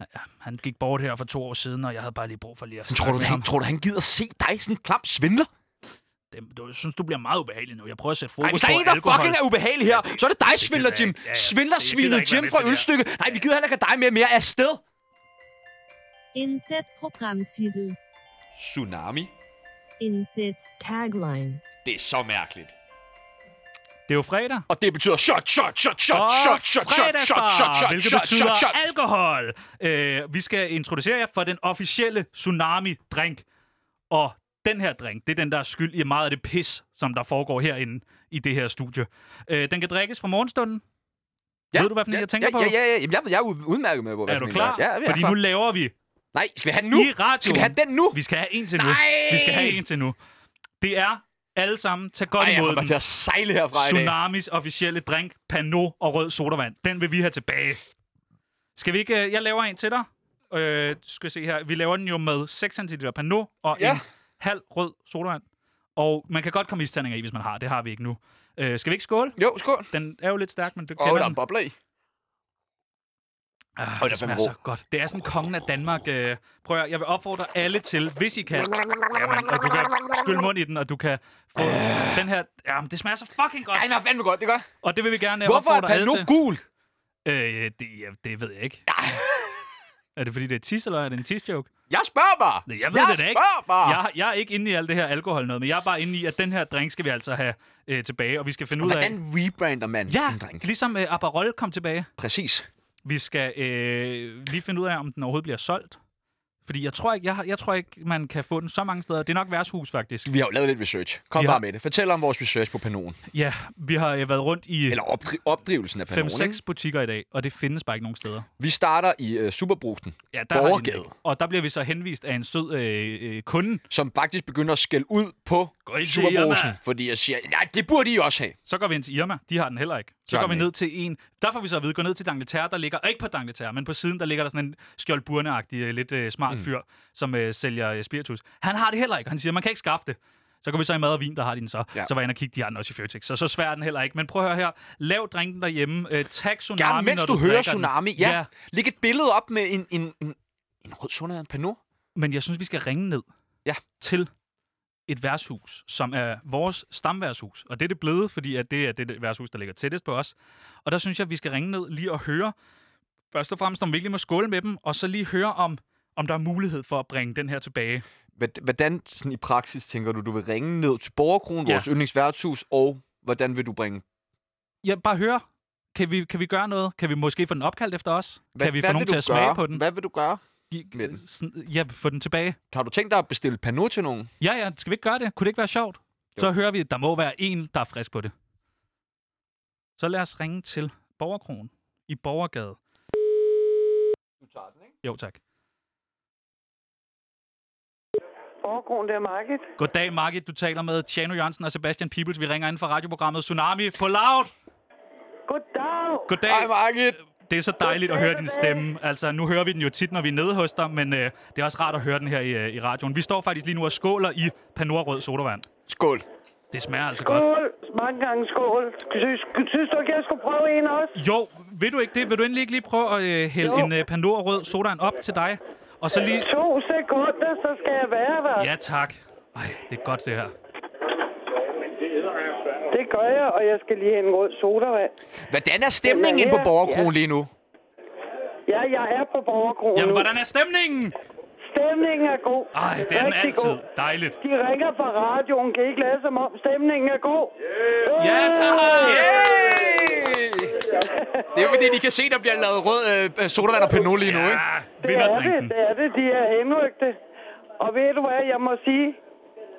[SPEAKER 1] Ja, han gik bort her for to år siden, og jeg havde bare lige brug for lige at
[SPEAKER 3] Men Tror
[SPEAKER 1] snakke
[SPEAKER 3] du,
[SPEAKER 1] med
[SPEAKER 3] han,
[SPEAKER 1] ham.
[SPEAKER 3] tror du, han gider se dig sådan en klam svindler?
[SPEAKER 1] Det, du, jeg synes, du bliver meget ubehagelig nu. Jeg prøver at sætte
[SPEAKER 3] Ej,
[SPEAKER 1] fokus
[SPEAKER 3] hvis der er
[SPEAKER 1] på
[SPEAKER 3] en, der
[SPEAKER 1] alkohol.
[SPEAKER 3] fucking er ubehagelig her, så er det dig, svindler
[SPEAKER 1] jeg
[SPEAKER 3] Jim.
[SPEAKER 1] ikke. Ja, ja.
[SPEAKER 3] Svindler
[SPEAKER 1] Det- jeg gider
[SPEAKER 3] svinet
[SPEAKER 1] ikke være
[SPEAKER 3] Jim
[SPEAKER 1] med
[SPEAKER 3] fra
[SPEAKER 1] til det her.
[SPEAKER 3] Ølstykke. Nej, vi gider heller ikke have dig med mere afsted.
[SPEAKER 4] Inset Programmtitel.
[SPEAKER 5] Tsunami?
[SPEAKER 4] Inset Tagline.
[SPEAKER 5] Det er så mærkeligt.
[SPEAKER 1] Det er jo fredag.
[SPEAKER 3] Og det betyder shot, shot, shot, shot,
[SPEAKER 1] Og
[SPEAKER 3] shot, shot, shot, shot, shot,
[SPEAKER 1] fredagsbar,
[SPEAKER 3] shot,
[SPEAKER 1] hvilket
[SPEAKER 3] shot, shot,
[SPEAKER 1] betyder
[SPEAKER 3] shot.
[SPEAKER 1] alkohol. Øh, vi skal introducere jer for den officielle tsunami-drink. Og den her drink, det er den, der er skyld i meget af det pis, som der foregår herinde i det her studie. Øh, den kan drikkes fra morgenstunden.
[SPEAKER 3] Ja,
[SPEAKER 1] Ved du, hvad for en,
[SPEAKER 3] ja,
[SPEAKER 1] jeg tænker
[SPEAKER 3] ja,
[SPEAKER 1] på?
[SPEAKER 3] Ja, ja, ja. Jamen, jeg, jeg er ud- udmærket med, hvor hvad
[SPEAKER 1] er du
[SPEAKER 3] for en
[SPEAKER 1] klar?
[SPEAKER 3] jeg Ja, jeg er
[SPEAKER 1] Fordi
[SPEAKER 3] klar.
[SPEAKER 1] nu laver vi
[SPEAKER 3] Nej, skal vi have den nu?
[SPEAKER 1] i radioen.
[SPEAKER 3] Skal vi have den nu?
[SPEAKER 1] Vi skal have en til nu.
[SPEAKER 3] Nej!
[SPEAKER 1] Vi skal have en til nu. Det er alle sammen, tag godt
[SPEAKER 3] Ej, jeg
[SPEAKER 1] imod
[SPEAKER 3] kommer
[SPEAKER 1] den.
[SPEAKER 3] til at sejle herfra i dag.
[SPEAKER 1] Tsunamis officielle drink, Pano og rød sodavand. Den vil vi have tilbage. Skal vi ikke... øh, Jeg laver en til dig. Øh, skal vi se her. Vi laver den jo med 6 cl Pano og ja.
[SPEAKER 3] Ja.
[SPEAKER 1] en halv rød sodavand. Og man kan godt komme isterninger i, hvis man har. Det har vi ikke nu. Øh, skal vi ikke skåle?
[SPEAKER 3] Jo, skål.
[SPEAKER 1] Den er jo lidt stærk, men du
[SPEAKER 3] Åh,
[SPEAKER 1] kender
[SPEAKER 3] der
[SPEAKER 1] den.
[SPEAKER 3] er bobler i.
[SPEAKER 1] Ah,
[SPEAKER 3] Hold
[SPEAKER 1] det
[SPEAKER 3] da,
[SPEAKER 1] smager
[SPEAKER 3] den er
[SPEAKER 1] så godt. Det er sådan kongen af Danmark. Øh, prøv at, høre, jeg vil opfordre alle til, hvis I kan. Jamen, og du kan skylle mund i den, og du kan få den her... Jamen, det smager så fucking godt.
[SPEAKER 3] Ej, den er fandme godt, det gør.
[SPEAKER 1] Og det vil vi gerne øh,
[SPEAKER 3] Hvorfor er
[SPEAKER 1] opfordre alle
[SPEAKER 3] Pernod
[SPEAKER 1] til.
[SPEAKER 3] gul?
[SPEAKER 1] Øh, det, ja, det ved jeg ikke. er det fordi, det er tis, eller er det en tis-joke?
[SPEAKER 3] Jeg spørger bare.
[SPEAKER 1] Nej, Jeg ved det da ikke.
[SPEAKER 3] spørger bare.
[SPEAKER 1] Jeg, jeg er ikke inde i alt det her alkohol noget, men jeg er bare inde i, at den her drink skal vi altså have øh, tilbage, og vi skal finde ud af...
[SPEAKER 3] Hvordan rebrander man en
[SPEAKER 1] Ja,
[SPEAKER 3] drink?
[SPEAKER 1] ligesom øh, Aperol kom tilbage.
[SPEAKER 3] Præcis.
[SPEAKER 1] Vi skal øh, lige finde ud af, om den overhovedet bliver solgt. Fordi jeg tror, ikke, jeg, har- jeg tror ikke, man kan få den så mange steder. Det er nok værtshus, faktisk.
[SPEAKER 3] Vi har jo lavet lidt research. Kom
[SPEAKER 1] Vi
[SPEAKER 3] bare
[SPEAKER 1] har-
[SPEAKER 3] med det. Fortæl om vores research på Panon.
[SPEAKER 1] Ja, vi har øh, været rundt i
[SPEAKER 3] Eller opdri- opdrivelsen af Panon.
[SPEAKER 1] 5-6 butikker i dag, og det findes bare ikke nogen steder.
[SPEAKER 3] Vi starter i øh, Superbrusen,
[SPEAKER 1] Ja, der har de den
[SPEAKER 3] Borgergade,
[SPEAKER 1] ikke. Og der bliver vi så henvist af en sød øh, øh, kunde.
[SPEAKER 3] som faktisk begynder at skælde ud på
[SPEAKER 1] Gå ind til
[SPEAKER 3] Superbrusen.
[SPEAKER 1] Irma.
[SPEAKER 3] Fordi jeg siger, nej, det burde I også have.
[SPEAKER 1] Så går vi ind til Irma. De har den heller ikke. Så
[SPEAKER 3] har
[SPEAKER 1] går
[SPEAKER 3] den
[SPEAKER 1] vi
[SPEAKER 3] ikke.
[SPEAKER 1] ned til en... Der får vi så at vide, gå ned til Dangleterre, der ligger... Ikke på Dangleterre, men på siden, der ligger der sådan en skjoldburneagtig, øh, lidt øh, smart mm. fyr, som øh, sælger øh, spiritus. Han har det heller ikke. Han siger, man kan ikke skaffe det. Så går vi så i mad og vin, der har de den så.
[SPEAKER 3] Ja.
[SPEAKER 1] Ja. Så var jeg inde og kigge, de har den også i Føtex. Så så svær er den heller ikke. Men prøv at høre her. Lav drinken derhjemme. Øh, tag tsunami,
[SPEAKER 3] Gerne, mens
[SPEAKER 1] når
[SPEAKER 3] du,
[SPEAKER 1] du,
[SPEAKER 3] hører
[SPEAKER 1] drikker den.
[SPEAKER 3] Tsunami. Ja,
[SPEAKER 1] ja.
[SPEAKER 3] Læg et billede op med en, en, en, en rød sund af en Panon.
[SPEAKER 1] Men jeg synes, vi skal ringe ned
[SPEAKER 3] Ja.
[SPEAKER 1] til et værtshus, som er vores stamværtshus. Og det er det blevet, fordi at det er det værtshus, der ligger tættest på os. Og der synes jeg, vi skal ringe ned lige og høre, først og fremmest, om vi virkelig må skåle med dem, og så lige høre om, om der er mulighed for at bringe den her tilbage.
[SPEAKER 3] Hved- Hvordan sådan i praksis tænker du, du vil ringe ned til Borgerkronen,
[SPEAKER 1] Ja.
[SPEAKER 3] vores yndlingsværtshus, og hvordan vil du bringe...
[SPEAKER 1] Ja, bare høre. Kan vi, kan vi gøre noget? Kan vi måske få den opkaldt efter os?
[SPEAKER 3] Hvad,
[SPEAKER 1] kan vi
[SPEAKER 3] hvad
[SPEAKER 1] få
[SPEAKER 3] vil
[SPEAKER 1] nogen
[SPEAKER 3] du
[SPEAKER 1] til at smage
[SPEAKER 3] gøre?
[SPEAKER 1] på den?
[SPEAKER 3] Hvad vil du gøre
[SPEAKER 1] Gi-
[SPEAKER 3] med den?
[SPEAKER 1] sådan- Ja, få den tilbage.
[SPEAKER 3] Har du tænkt dig at bestille Panon til nogen?
[SPEAKER 1] Ja, ja, skal vi ikke gøre det? Kunne det ikke være sjovt? Jo. Så hører vi, at der må være en, der er frisk på det. Så lad os ringe til Borgerkronen i Borgergade.
[SPEAKER 3] Du tager den, ikke?
[SPEAKER 1] Jo, tak.
[SPEAKER 6] Borgergrund, det er markedet.
[SPEAKER 1] Goddag, Margit. Du taler med Tjano Jørgensen og Sebastian Peebles. Vi ringer ind fra radioprogrammet Tsunami på loud.
[SPEAKER 6] Goddag!
[SPEAKER 1] Goddag.
[SPEAKER 3] Hej, Margit!
[SPEAKER 1] Det er så dejligt at høre din
[SPEAKER 6] Goddag.
[SPEAKER 1] stemme. Altså, nu hører vi den jo tit, når vi er nede hos dig, men øh, det er også rart at høre den her i, øh, i radioen. Vi står faktisk lige nu og skåler i Panora Rød Sodavand.
[SPEAKER 3] Skål.
[SPEAKER 1] Det smager altså godt.
[SPEAKER 6] Skål! Mange gange skål. Synes, synes du ikke, jeg skulle prøve en også?
[SPEAKER 1] Jo, vil du ikke det? Vil du endelig ikke lige prøve at øh, hælde
[SPEAKER 6] Jo.
[SPEAKER 1] en øh, Panora Rød Sodavand op til dig? Og så lige...
[SPEAKER 6] To sekunder, så skal jeg være der.
[SPEAKER 1] Ja, tak. Ej, det er godt, det her.
[SPEAKER 6] Det gør jeg, og jeg skal lige have en rød sodavand.
[SPEAKER 3] Hvordan er stemningen inde på
[SPEAKER 6] her.
[SPEAKER 3] Borgerkronen lige nu?
[SPEAKER 6] Ja, jeg er på borgergrunden
[SPEAKER 1] Jamen, hvordan er stemningen?
[SPEAKER 6] Stemningen er god.
[SPEAKER 1] Ej, det er den
[SPEAKER 6] Rigtig
[SPEAKER 1] altid.
[SPEAKER 6] god.
[SPEAKER 1] Dejligt.
[SPEAKER 6] De ringer fra radioen. Kan I ikke lade som om stemningen er god? Øh, Yeah.
[SPEAKER 1] Ja, tak!
[SPEAKER 3] Hey! Det er jo fordi, de kan se, der bliver lavet rød øh, sodavand og Panon lige nu, ikke?
[SPEAKER 1] Ja,
[SPEAKER 6] Det er det,
[SPEAKER 1] vinderdrinken.
[SPEAKER 6] det er det. De er henrygte. Og ved du hvad, jeg må sige?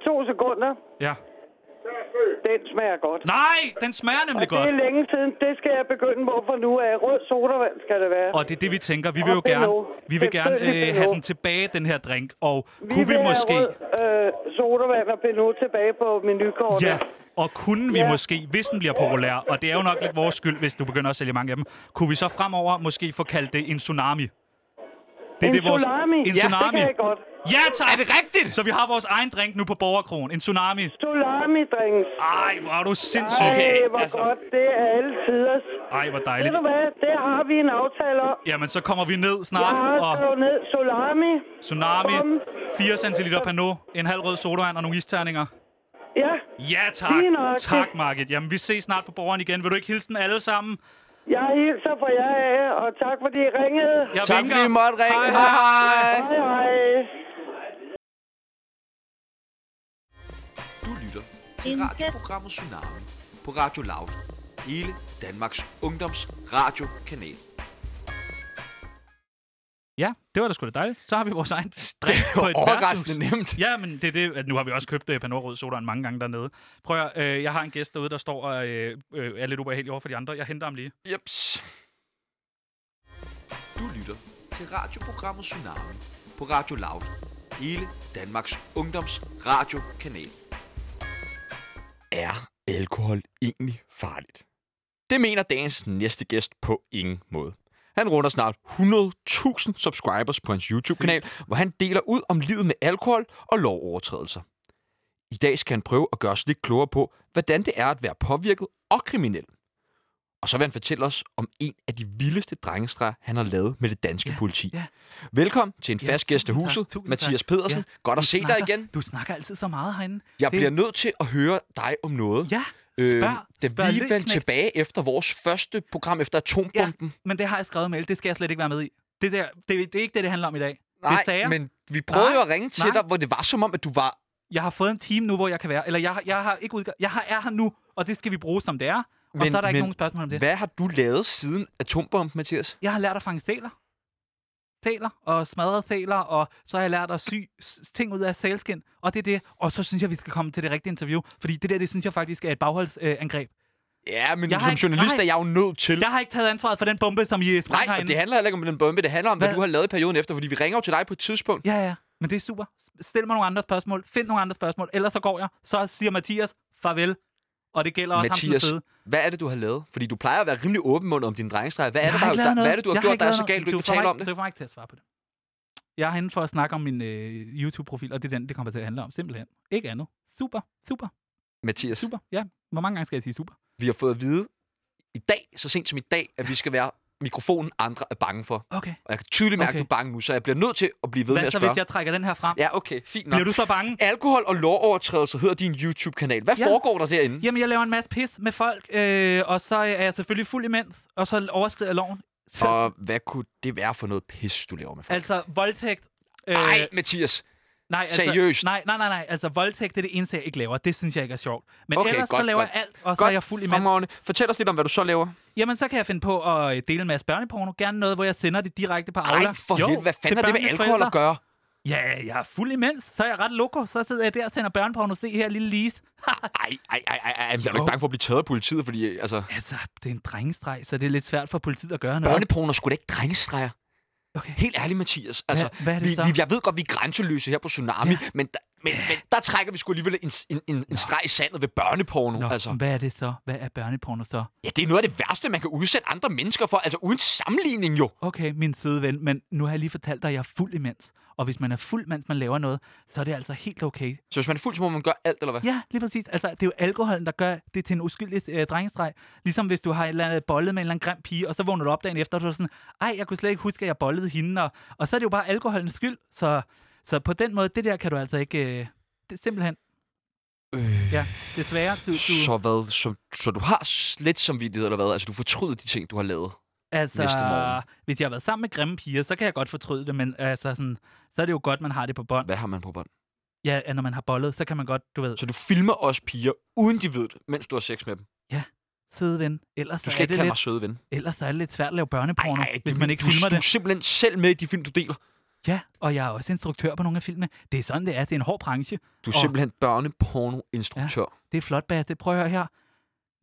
[SPEAKER 6] To sekunder.
[SPEAKER 1] Ja.
[SPEAKER 6] Den smager godt.
[SPEAKER 1] Nej, den smager nemlig
[SPEAKER 6] Det
[SPEAKER 1] godt.
[SPEAKER 6] er længe siden. Det skal jeg begynde på for nu af. Rød sodavand skal det være.
[SPEAKER 1] Og det er det, vi tænker. Vi vil jo
[SPEAKER 6] Og Benno.
[SPEAKER 1] gerne, vi vil gerne
[SPEAKER 6] Selvfølgelig
[SPEAKER 1] øh, have
[SPEAKER 6] Benno.
[SPEAKER 1] den tilbage, den her drink. Og
[SPEAKER 6] vi
[SPEAKER 1] kunne vi
[SPEAKER 6] vil have
[SPEAKER 1] måske...
[SPEAKER 6] Rød, øh, sodavand og Pinot tilbage på menukortet.
[SPEAKER 1] Ja, og kunne vi
[SPEAKER 6] Ja.
[SPEAKER 1] måske, hvis den bliver populær, og det er jo nok lidt vores skyld, hvis du begynder at sælge mange af dem, kunne vi så fremover måske få kaldt det en tsunami? Det
[SPEAKER 6] en tsunami.
[SPEAKER 1] En
[SPEAKER 6] ja, Det
[SPEAKER 1] tsunami.
[SPEAKER 6] kan jeg godt.
[SPEAKER 1] Ja, tak!
[SPEAKER 3] Er det rigtigt?
[SPEAKER 1] Så vi har vores egen drink nu på Borgerkronen. En tsunami.
[SPEAKER 6] Tsunami, drinks.
[SPEAKER 1] Ej, hvor er du sindssyg.
[SPEAKER 3] Okay,
[SPEAKER 6] Ej, hvor
[SPEAKER 3] altså.
[SPEAKER 6] godt. Det er alle tiders.
[SPEAKER 1] Ej, hvor
[SPEAKER 6] Ved
[SPEAKER 1] dejligt.
[SPEAKER 6] du hvad? Det har vi en aftale om.
[SPEAKER 1] Jamen, så kommer vi ned
[SPEAKER 6] Jeg
[SPEAKER 1] snart,
[SPEAKER 6] har
[SPEAKER 1] og
[SPEAKER 6] skrevet ned Solami.
[SPEAKER 1] tsunami,
[SPEAKER 6] Bum.
[SPEAKER 1] 4 cl Pernod, en halv rød sodavand og nogle isterninger.
[SPEAKER 6] Ja,
[SPEAKER 1] Ja, tak.
[SPEAKER 6] Lige nok.
[SPEAKER 1] Tak, Margit. Jamen, vi ses snart på borgeren igen. Vil du ikke hilse dem alle sammen?
[SPEAKER 6] jeg hilser fra jer af, og tak fordi I ringede.
[SPEAKER 1] Jeg
[SPEAKER 3] Tak
[SPEAKER 1] vinker.
[SPEAKER 3] fordi I måtte ringe.
[SPEAKER 1] Hej,
[SPEAKER 3] Hej, hej.
[SPEAKER 6] Hej, hej.
[SPEAKER 5] Du lytter til
[SPEAKER 4] Indsæt.
[SPEAKER 5] radioprogrammet Tsunami på Radio Loud. Hele Danmarks ungdoms radiokanal.
[SPEAKER 1] Ja, det var da sgu da dejligt. Så har vi vores egen
[SPEAKER 3] Det
[SPEAKER 1] drink
[SPEAKER 3] var
[SPEAKER 1] på et
[SPEAKER 3] overraskende
[SPEAKER 1] værtshus.
[SPEAKER 3] nemt.
[SPEAKER 1] Ja, men det er det, at nu har vi også købt øh, Panorød Sodaen mange gange dernede. Prøv at, øh, jeg har en gæst derude, der står og øh, øh, er lidt ubehagelig over for de andre. Jeg henter ham lige.
[SPEAKER 3] Jeps.
[SPEAKER 5] Du lytter til radioprogrammet Tsunami på Radio Loud. Hele Danmarks ungdoms radiokanal.
[SPEAKER 3] Er alkohol egentlig farligt? Det mener dagens næste gæst på ingen måde. Han runder snart 100.000 subscribers på hans YouTube-kanal, hvor han deler ud om livet med alkohol og lovovertrædelser. I dag skal han prøve at gøre os lidt klogere på, hvordan det er at være påvirket og kriminel. Og så vil han fortælle os om en af de vildeste drengestreger, han har lavet med det danske ja, politi.
[SPEAKER 1] ja.
[SPEAKER 3] Velkommen til en
[SPEAKER 1] Ja,
[SPEAKER 3] fast gæst af
[SPEAKER 1] tusind tak,
[SPEAKER 3] huset,
[SPEAKER 1] tusind
[SPEAKER 3] Mathias
[SPEAKER 1] tak.
[SPEAKER 3] Pedersen.
[SPEAKER 1] Ja,
[SPEAKER 3] Godt
[SPEAKER 1] du
[SPEAKER 3] at se dig
[SPEAKER 1] snakker-
[SPEAKER 3] igen.
[SPEAKER 1] Du snakker altid så meget herinde.
[SPEAKER 3] Jeg
[SPEAKER 1] Det-
[SPEAKER 3] bliver nødt til at høre dig om noget.
[SPEAKER 1] Ja,
[SPEAKER 3] Øhm,
[SPEAKER 1] spørg.
[SPEAKER 3] da
[SPEAKER 1] spørg
[SPEAKER 3] vi
[SPEAKER 1] løs,
[SPEAKER 3] vendte
[SPEAKER 1] knægt.
[SPEAKER 3] tilbage efter vores første program efter atombomben. Ja,
[SPEAKER 1] Men det har jeg skrevet mail. Det skal jeg slet ikke være med i. Det, der, det, det er ikke det, det handler om i dag. det sagde
[SPEAKER 3] Nej,
[SPEAKER 1] jeg.
[SPEAKER 3] men vi prøvede
[SPEAKER 1] Nej,
[SPEAKER 3] jo at ringe til
[SPEAKER 1] nej.
[SPEAKER 3] dig, hvor det var som om, at du var...
[SPEAKER 1] Jeg har fået en time nu, hvor jeg kan være. Eller jeg, har- jeg har ikke udgang. Jeg har, er her nu, og det skal vi bruge, som det er. Og
[SPEAKER 3] Men-
[SPEAKER 1] så er der ikke
[SPEAKER 3] men
[SPEAKER 1] nogen spørgsmål om det.
[SPEAKER 3] Hvad har du lavet siden atombomben, Mathias?
[SPEAKER 1] Jeg har lært at fange sæler. thaler og smadret thaler, og så har jeg lært at sy s- ting ud af sælskin, og det er det. Og så synes jeg, vi skal komme til det rigtige interview, fordi det der, det synes jeg faktisk er et bagholdsangreb.
[SPEAKER 3] Ja, men
[SPEAKER 1] Jeg
[SPEAKER 3] jeg
[SPEAKER 1] har
[SPEAKER 3] som
[SPEAKER 1] ikke-
[SPEAKER 3] journalist
[SPEAKER 1] nej.
[SPEAKER 3] er jeg jo nødt til...
[SPEAKER 1] Jeg har ikke taget ansvaret for den bombe, som I sprang
[SPEAKER 3] Nej, og det handler heller ikke om den bombe. Det handler om, hvad,
[SPEAKER 1] Hvad?
[SPEAKER 3] du har lavet i perioden efter, fordi vi ringer jo til dig på et tidspunkt.
[SPEAKER 1] Ja, ja. Men det er super. S- Stil mig nogle andre spørgsmål. Find nogle andre spørgsmål. Ellers så går jeg. Så siger Mathias farvel. Og det gælder også
[SPEAKER 3] Mathias,
[SPEAKER 1] ham til side.
[SPEAKER 3] hvad er det, du har lavet? Fordi du plejer at være rimelig åbenmundet om dine drengestreger. Hvad er,
[SPEAKER 1] Jeg
[SPEAKER 3] det,
[SPEAKER 1] har
[SPEAKER 3] der,
[SPEAKER 1] ikke
[SPEAKER 3] der,
[SPEAKER 1] lavet
[SPEAKER 3] hvad er
[SPEAKER 1] noget.
[SPEAKER 3] det, du har
[SPEAKER 1] Jeg
[SPEAKER 3] gjort,
[SPEAKER 1] ikke
[SPEAKER 3] der er
[SPEAKER 1] lavet
[SPEAKER 3] så
[SPEAKER 1] noget.
[SPEAKER 3] galt, du
[SPEAKER 1] Du
[SPEAKER 3] ikke
[SPEAKER 1] får
[SPEAKER 3] vil tale
[SPEAKER 1] mig-
[SPEAKER 3] om det?
[SPEAKER 1] Du får mig ikke til at svare på det. Jeg er henne for at snakke om min øh, YouTube-profil, og det er den, det kommer til at handle om, simpelthen. Ikke andet. Super, super,
[SPEAKER 3] Mathias,
[SPEAKER 1] super. Ja, hvor mange gange skal jeg sige super?
[SPEAKER 3] vi har fået at vide i dag, så sent som i dag, at vi skal være mikrofonen, andre er bange for.
[SPEAKER 1] Okay.
[SPEAKER 3] Og jeg kan tydeligt mærke,
[SPEAKER 1] Okay.
[SPEAKER 3] at du er bange nu, så jeg bliver nødt til at blive ved med
[SPEAKER 1] Hvad
[SPEAKER 3] at
[SPEAKER 1] så,
[SPEAKER 3] spørge.
[SPEAKER 1] hvis jeg trækker den her frem?
[SPEAKER 3] Ja, okay, fint nok.
[SPEAKER 1] Bliver du så bange?
[SPEAKER 3] Alkohol og lovovertrædelser hedder din YouTube-kanal. Hvad
[SPEAKER 1] Ja.
[SPEAKER 3] ja. foregår der derinde? Ja.
[SPEAKER 1] Jamen, jeg laver en masse pis med folk, øh, og så er jeg selvfølgelig fuld imens, og så overskrider jeg loven. Så,
[SPEAKER 3] Og hvad kunne det være for noget pis, du laver med folk?
[SPEAKER 1] altså, voldtægt... Øh,
[SPEAKER 3] Nej, Mathias.
[SPEAKER 1] Nej, altså,
[SPEAKER 3] Seriøst?
[SPEAKER 1] Nej, nej, nej, nej. Altså, voldtægt det er det eneste, jeg ikke laver. Det synes jeg ikke er sjovt. Men
[SPEAKER 3] Okay,
[SPEAKER 1] ellers så
[SPEAKER 3] godt,
[SPEAKER 1] laver
[SPEAKER 3] godt.
[SPEAKER 1] jeg alt, og så er
[SPEAKER 3] Godt,
[SPEAKER 1] jeg fuld imens.
[SPEAKER 3] fremragende. Fortæl os lidt om, hvad du så laver.
[SPEAKER 1] Jamen, så kan jeg finde på at øh, dele en masse børneporno. Gerne noget, hvor jeg sender det direkte på Aula.
[SPEAKER 3] Nej, for helvede. Hvad fanden
[SPEAKER 1] til
[SPEAKER 3] har det med
[SPEAKER 1] børnenes
[SPEAKER 3] alkohol at
[SPEAKER 1] forældre.
[SPEAKER 3] gøre?
[SPEAKER 1] Ja, jeg er fuld imens. Så er jeg ret loko. Så sidder jeg der og sender børneporno. Se her, lille Lise.
[SPEAKER 3] Ej, ej, ej, ej, ej. Jeg er jo
[SPEAKER 1] Jo.
[SPEAKER 3] ikke bange for at blive taget af politiet, fordi øh, altså...
[SPEAKER 1] altså, det er en drengestreg, så det er lidt svært for politiet at gøre noget.
[SPEAKER 3] Børneporno skulle da ikke drengestreger.
[SPEAKER 1] Okay.
[SPEAKER 3] Helt ærligt, Mathias. Altså,
[SPEAKER 1] hvad er det
[SPEAKER 3] vi,
[SPEAKER 1] så?
[SPEAKER 3] Vi, jeg ved godt, vi er grænseløse her på Tsunami,
[SPEAKER 1] Ja.
[SPEAKER 3] ja. men, der, men, men der trækker vi sgu alligevel en, en, en, en streg i sandet ved børneporno.
[SPEAKER 1] Nå,
[SPEAKER 3] altså.
[SPEAKER 1] hvad er det så? Hvad er børneporno så?
[SPEAKER 3] Ja, det er noget af det værste, man kan udsætte andre mennesker for. Altså uden sammenligning jo.
[SPEAKER 1] Okay, min søde ven, men nu har jeg lige fortalt dig, at jeg er fuld imens. Og hvis man er fuld, mens man laver noget, så er det altså helt okay.
[SPEAKER 3] Så hvis man er fuld, så må man gøre alt, eller hvad?
[SPEAKER 1] Ja, lige præcis. Altså, det er jo alkoholen, der gør det til en uskyldig øh, drengestreg. Ligesom hvis du har et eller andet bollet med en eller anden grim pige, og så vågner du op dagen efter, og du er sådan, ej, jeg kunne slet ikke huske, at jeg bollede hende. Og, og så er det jo bare alkoholens skyld. Så, så på den måde, det der kan du altså ikke... Øh, det, simpelthen,
[SPEAKER 3] Øh,
[SPEAKER 1] ja, desværre. Du, du,
[SPEAKER 3] Så hvad? Så, så du har lidt samvittighed, eller hvad? Altså, du fortryder de ting, du har lavet.
[SPEAKER 1] altså,
[SPEAKER 3] næste morgen.
[SPEAKER 1] hvis jeg har været sammen med grimme piger, så kan jeg godt fortryde det, men altså, sådan, så er det jo godt, man har det på bånd.
[SPEAKER 3] Hvad har man på bånd?
[SPEAKER 1] Ja, at når man har bollet, så kan man godt, du ved,
[SPEAKER 3] Så du filmer også piger, uden de ved det, mens du har sex med dem.
[SPEAKER 1] søde ven. Ellers,
[SPEAKER 3] Du
[SPEAKER 1] så
[SPEAKER 3] skal
[SPEAKER 1] er
[SPEAKER 3] ikke
[SPEAKER 1] det
[SPEAKER 3] kalde
[SPEAKER 1] lidt,
[SPEAKER 3] mig søde ven.
[SPEAKER 1] ellers så er det lidt svært at lave børneporno,
[SPEAKER 3] Ej, ej,
[SPEAKER 1] hvis man ikke
[SPEAKER 3] du,
[SPEAKER 1] filmer
[SPEAKER 3] du
[SPEAKER 1] det.
[SPEAKER 3] er simpelthen selv med i de film, du deler.
[SPEAKER 1] Ja, og jeg er også instruktør på nogle af filmene. Det er sådan, det er. Det er en hård branche.
[SPEAKER 3] Du er
[SPEAKER 1] Og-
[SPEAKER 3] oh. simpelthen børneporno-instruktør.
[SPEAKER 1] Det er flot, Bas. Det prøv at høre her.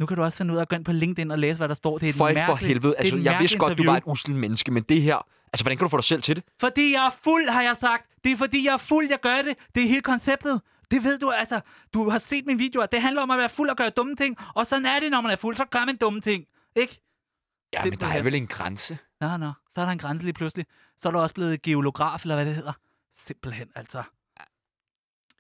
[SPEAKER 1] Nu kan du også finde ud af at gå ind på LinkedIn og læse, hvad der står. Det er
[SPEAKER 3] Ja.
[SPEAKER 1] et
[SPEAKER 3] For, for
[SPEAKER 1] mærkeligt-
[SPEAKER 3] helvede.
[SPEAKER 1] det er
[SPEAKER 3] Altså,
[SPEAKER 1] et
[SPEAKER 3] jeg vidste
[SPEAKER 1] mærkeligt
[SPEAKER 3] godt, du
[SPEAKER 1] interview.
[SPEAKER 3] var et uselt menneske, men det her... Altså, hvordan kan du få dig selv til det?
[SPEAKER 1] Fordi jeg er fuld, har jeg sagt. Det er fordi, jeg er fuld, jeg gør det. Det er hele konceptet. Det ved du altså. Du har set mine videoer. Det handler om at være fuld og gøre dumme ting. Og sådan er det, når man er fuld. Så gør man dumme ting. Ikke?
[SPEAKER 3] Ja, men der er
[SPEAKER 1] Simpelthen.
[SPEAKER 3] vel en grænse.
[SPEAKER 1] Nå, nå. Så er der en grænse lige pludselig. Så er du også blevet geolograf, eller hvad det hedder. Simpelthen, altså.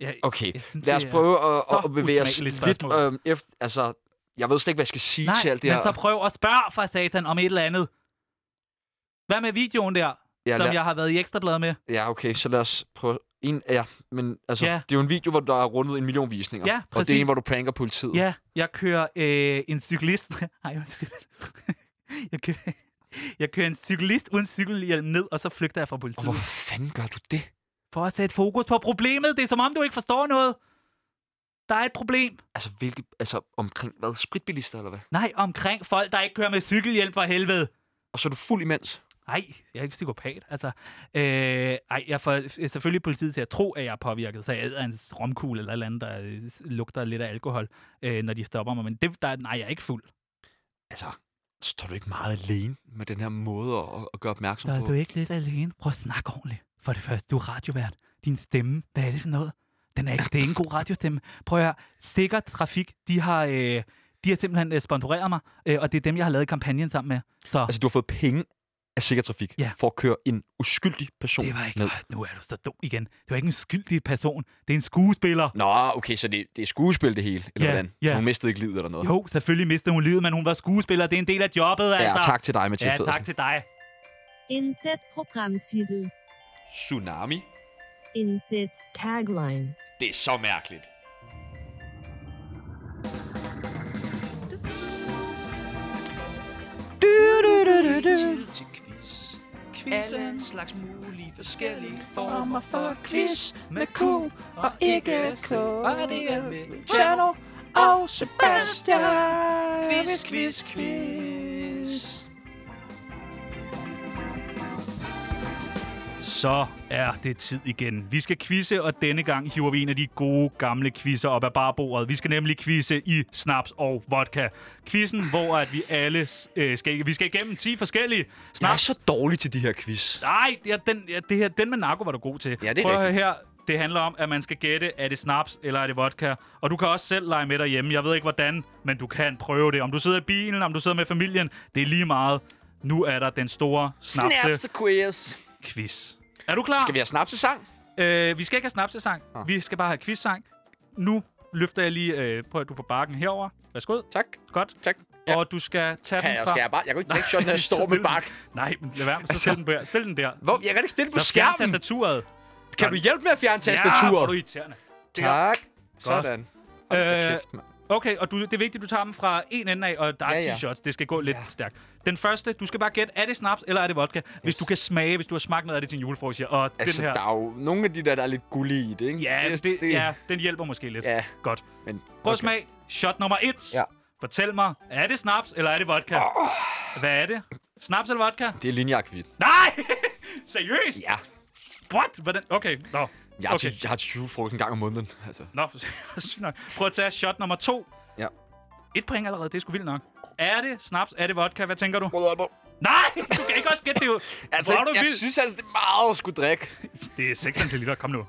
[SPEAKER 1] Ja,
[SPEAKER 3] Okay,
[SPEAKER 1] Jeg synes,
[SPEAKER 3] lad os
[SPEAKER 1] det er
[SPEAKER 3] prøve at,
[SPEAKER 1] så
[SPEAKER 3] at bevæge os
[SPEAKER 1] usmageligt
[SPEAKER 3] lidt
[SPEAKER 1] spørgsmål.
[SPEAKER 3] øhm, efter... Altså, jeg ved slet ikke, hvad jeg skal sige
[SPEAKER 1] Nej,
[SPEAKER 3] til alt det her.
[SPEAKER 1] men så prøv at spørge fra satan om et eller andet. Hvad med videoen der,
[SPEAKER 3] ja,
[SPEAKER 1] ja, som
[SPEAKER 3] lad,
[SPEAKER 1] jeg har været i Ekstrabladet med?
[SPEAKER 3] ja, okay, så lad os prøve... En, ja, men altså,
[SPEAKER 1] Ja.
[SPEAKER 3] ja. det er jo en video, hvor der er rundet en million visninger.
[SPEAKER 1] Ja,
[SPEAKER 3] og det
[SPEAKER 1] præcis.
[SPEAKER 3] er en, hvor du pranker politiet.
[SPEAKER 1] Ja, jeg kører øh, en cyklist. Nej, undskyld. jeg, kører, jeg kører en cyklist uden cykelhjelm ned, og så flygter jeg fra
[SPEAKER 3] Og
[SPEAKER 1] politiet.
[SPEAKER 3] hvor fanden gør du det?
[SPEAKER 1] For at sætte fokus på problemet. Det er som om, du ikke forstår noget. Der er et problem.
[SPEAKER 3] Altså, hvilke, altså omkring hvad? Spritbilister eller hvad?
[SPEAKER 1] Nej, omkring folk, der ikke kører med cykelhjelm for helvede.
[SPEAKER 3] Og så er du fuld imens.
[SPEAKER 1] Nej, jeg er ikke psykopat. Altså, øh, ej, jeg får f- selvfølgelig politiet til at tro, at jeg er påvirket, så jeg æder en romkugle eller et eller andet, der øh, s- lugter lidt af alkohol, øh, når de stopper mig. Men det, der, nej, jeg er ikke fuld.
[SPEAKER 3] Altså, står du ikke meget alene med den her måde at, at gøre opmærksom
[SPEAKER 1] Der er
[SPEAKER 3] på?
[SPEAKER 1] du ikke lidt alene. Prøv at snakke ordentligt. For det første, du er radiovært. Din stemme, hvad er det for noget? Den er ikke, det er ikke en god radiostemme. Prøv at høre. Sikker Trafik, de har, øh, de har simpelthen øh, sponsoreret mig, øh, og det er dem, jeg har lavet kampagnen sammen med. Så
[SPEAKER 3] Altså, du har fået penge af sikker trafik
[SPEAKER 1] Ja.
[SPEAKER 3] for at køre en uskyldig person
[SPEAKER 1] det var ikke...
[SPEAKER 3] ned.
[SPEAKER 1] Øj, nu er du så dum igen. Det var ikke en skyldig person. Det er en skuespiller.
[SPEAKER 3] Nå, okay, så det, det er skuespil det hele, eller
[SPEAKER 1] Ja,
[SPEAKER 3] hvordan?
[SPEAKER 1] ja.
[SPEAKER 3] Så hun mistede ikke livet eller noget?
[SPEAKER 1] Jo, selvfølgelig mistede hun livet, men hun var skuespiller. Det er en del af jobbet,
[SPEAKER 3] Ja,
[SPEAKER 1] altså.
[SPEAKER 3] tak til dig, Mathias
[SPEAKER 1] Ja, tak
[SPEAKER 3] Pedersen.
[SPEAKER 1] til dig.
[SPEAKER 4] Inset Programmtitel.
[SPEAKER 5] Tsunami?
[SPEAKER 4] Inset Tagline.
[SPEAKER 5] Det er så mærkeligt. Tid til quiz. Alle slags mulige forskellige former for quiz.
[SPEAKER 1] med Q og ikke K. Og det er
[SPEAKER 5] Med Chano og Sebastian. Quiz, quiz, quiz.
[SPEAKER 1] Så er det tid igen. Vi skal quizze, og denne gang hiver vi en af de gode gamle quizzer op af barbordet. Vi skal nemlig quizze i snaps og vodka. Quizzen, hvor at vi alle øh, skal, vi skal igennem 10 forskellige
[SPEAKER 5] Jeg er
[SPEAKER 1] snaps.
[SPEAKER 5] så dårlig til de her quiz.
[SPEAKER 1] Nej, ja, den, ja, det her, den med narko var du god til.
[SPEAKER 5] Ja, det er
[SPEAKER 1] Prøv at høre her. Det handler om, at man skal gætte, er det snaps eller er det vodka. Og du kan også selv lege med derhjemme. Jeg ved ikke hvordan, men du kan prøve det. Om du sidder i bilen, om du sidder med familien, det er lige meget. Nu er der den store snapse-quiz.
[SPEAKER 3] quiz.
[SPEAKER 1] Er du klar?
[SPEAKER 3] Skal vi have snapsesang?
[SPEAKER 1] Øh, vi skal ikke have snapsesang. Ah. Vi skal bare have quizsang. Nu løfter jeg lige øh, på, at du får bakken herover. Værsgo.
[SPEAKER 3] Tak,
[SPEAKER 1] Godt.
[SPEAKER 3] tak.
[SPEAKER 1] Ja. Og du skal tage
[SPEAKER 3] Kan
[SPEAKER 1] den
[SPEAKER 3] jeg,
[SPEAKER 1] fra...
[SPEAKER 3] skal jeg bare, jeg kan ikke ikke sådan, at jeg
[SPEAKER 1] Så
[SPEAKER 3] står med
[SPEAKER 1] stil den.
[SPEAKER 3] bak.
[SPEAKER 1] Nej, men lad være med. Så altså... den der. Stil den der.
[SPEAKER 3] Hvor, jeg kan ikke stille på
[SPEAKER 1] Så fjern
[SPEAKER 3] skærmen.
[SPEAKER 1] tastaturet.
[SPEAKER 3] Kan du hjælpe med at fjerne
[SPEAKER 1] Ja, hvor er du
[SPEAKER 3] tastaturet?
[SPEAKER 1] irriterende.
[SPEAKER 3] tak. Sådan. Hold da
[SPEAKER 1] Øh,
[SPEAKER 3] kæft, mand.
[SPEAKER 1] Okay, og du, det er vigtigt, at du tager dem fra en ende af, og der er
[SPEAKER 3] Ja,
[SPEAKER 1] ja,
[SPEAKER 3] ja.
[SPEAKER 1] ja. t-shirts. Det skal gå lidt ja. stærkt. Den første, du skal bare gætte, er det snaps eller er det vodka? Hvis du kan smage, hvis du har smagt noget af det til en julefrokost, ja. og
[SPEAKER 3] Altså,
[SPEAKER 1] den her...
[SPEAKER 3] der er jo nogle af de der, der er lidt gullige i det, ikke?
[SPEAKER 1] Ja, det, det, ja, den hjælper måske lidt.
[SPEAKER 3] Ja.
[SPEAKER 1] Godt.
[SPEAKER 3] Men,
[SPEAKER 1] Prøv at smage. Shot nummer et.
[SPEAKER 3] Ja.
[SPEAKER 1] Fortæl mig, er det snaps, eller er det vodka? Oh. Hvad er det? Snaps eller vodka?
[SPEAKER 5] Det er linjeakvit.
[SPEAKER 1] Nej! Seriøst?
[SPEAKER 3] Ja.
[SPEAKER 1] What? Hvordan? Okay, nå.
[SPEAKER 5] Jeg har
[SPEAKER 1] Okay.
[SPEAKER 5] til, jeg har til julefrokost en gang om måneden. Altså.
[SPEAKER 1] Nå, sygt nok. Prøv at tage shot nummer to.
[SPEAKER 5] Ja.
[SPEAKER 1] Et point allerede, det er sgu vildt nok. Er det snaps? Er det vodka? Hvad tænker du?
[SPEAKER 3] Rød Aalborg.
[SPEAKER 1] Nej! Du kan ikke også gætte det jo.
[SPEAKER 3] Altså,
[SPEAKER 1] Hvor er du
[SPEAKER 3] jeg
[SPEAKER 1] vild.
[SPEAKER 3] synes altså, det er meget at skulle drikke.
[SPEAKER 1] Det er 6 centiliter, kom nu.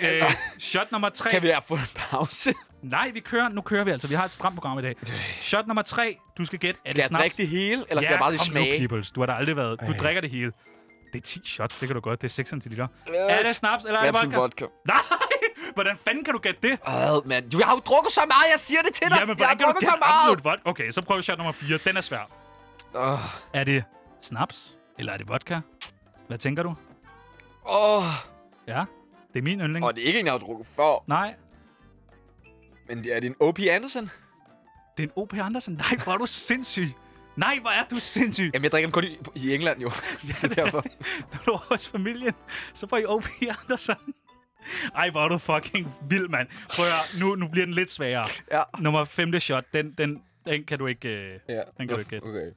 [SPEAKER 1] Øh, shot nummer tre.
[SPEAKER 3] Kan vi have fået en pause?
[SPEAKER 1] Nej, vi kører. Nu kører vi altså. Vi har et stramt program i dag. Shot nummer tre. Du skal gætte, er
[SPEAKER 3] Øh. Skal
[SPEAKER 1] det
[SPEAKER 3] jeg
[SPEAKER 1] snaps?
[SPEAKER 3] drikke det hele, eller skal
[SPEAKER 1] ja,
[SPEAKER 3] jeg bare lige
[SPEAKER 1] kom nu,
[SPEAKER 3] smage? Øh.
[SPEAKER 1] Peoples. Du har da aldrig været. Du drikker det hele. Det er 10 shots, det kan du godt. Det er 6 centiliter. Er det snaps, eller er det vodka?
[SPEAKER 3] Øh. vodka.
[SPEAKER 1] Nej! Hvordan fanden kan du gætte det?
[SPEAKER 3] Ad, mand. Du, jeg har jo drukket så meget, jeg siger det til dig.
[SPEAKER 1] Jamen,
[SPEAKER 3] jeg
[SPEAKER 1] hvordan
[SPEAKER 3] har
[SPEAKER 1] kan du
[SPEAKER 3] drukket så
[SPEAKER 1] gætte
[SPEAKER 3] meget.
[SPEAKER 1] absolut vodka? Okay, så prøv shot nummer 4. Den er svær.
[SPEAKER 3] Åh,
[SPEAKER 1] Er det snaps, eller er det vodka? Hvad tænker du?
[SPEAKER 3] Åh,
[SPEAKER 1] Ja, det er min yndling.
[SPEAKER 3] og det er ikke en, jeg har drukket før.
[SPEAKER 1] Nej,
[SPEAKER 3] Men er det en O.P. Andersen?
[SPEAKER 1] det er en O.P. Andersen. Nej, hvor er du sindssyg. Nej, hvor er du sindssyg.
[SPEAKER 3] Jamen, jeg drikker den kun i, i England, jo. det er derfor.
[SPEAKER 1] Når du er hos familien, så får I O.P. Andersen. Ej, hvor er du fucking vild, mand. Prøv at, høre, nu, nu bliver den lidt sværere.
[SPEAKER 3] Ja.
[SPEAKER 1] Nummer femte shot, den, den, den kan du ikke... Øh...
[SPEAKER 3] ja.
[SPEAKER 1] Den kan du ikke gætte.
[SPEAKER 3] Okay.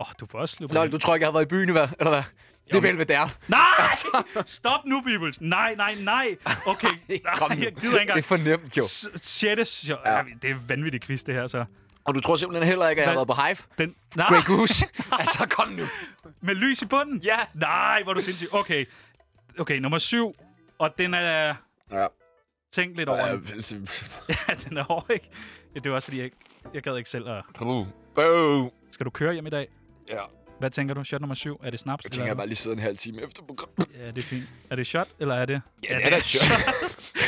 [SPEAKER 1] Åh, du får også sluppet.
[SPEAKER 3] Lol, du tror ikke, jeg har været i byen, hvad? Eller hvad? Det er
[SPEAKER 1] Jamen.
[SPEAKER 3] Belvedere.
[SPEAKER 1] Nej! Stop nu, Bibels. Nej, nej, nej. Okay,
[SPEAKER 3] Kom
[SPEAKER 1] nej,
[SPEAKER 3] nu.
[SPEAKER 1] jeg gider ikke
[SPEAKER 3] Det
[SPEAKER 1] engang.
[SPEAKER 3] er for nemt, jo.
[SPEAKER 1] S- Sjette shot.
[SPEAKER 3] Ja.
[SPEAKER 1] Ja. Det er vanvittigt quiz, det her, så.
[SPEAKER 3] Og du tror simpelthen heller ikke, at jeg har
[SPEAKER 1] Hvad?
[SPEAKER 3] været på Hive?
[SPEAKER 1] Den... Nej,
[SPEAKER 3] Grey Goose? altså, kom nu.
[SPEAKER 1] med lys i bunden?
[SPEAKER 3] Ja.
[SPEAKER 1] Nej, hvor er du sindssyg. Okay. Okay, nummer syv. Og den er...
[SPEAKER 3] Ja.
[SPEAKER 1] Tænk lidt over den.
[SPEAKER 3] Øh,
[SPEAKER 1] Ja, den er hård, ikke? Ja, det var også fordi, jeg, jeg gad ikke selv at...
[SPEAKER 3] Bøv.
[SPEAKER 1] Skal du køre hjem i dag?
[SPEAKER 3] Ja,
[SPEAKER 1] Hvad tænker du? Shot nummer syv? Er det snaps?
[SPEAKER 3] jeg tænker, jeg
[SPEAKER 1] eller...
[SPEAKER 3] bare lige sidder en halv time efter programmet.
[SPEAKER 1] Ja, det er fint. Er det shot, eller er det...
[SPEAKER 3] Ja, det er da et shot.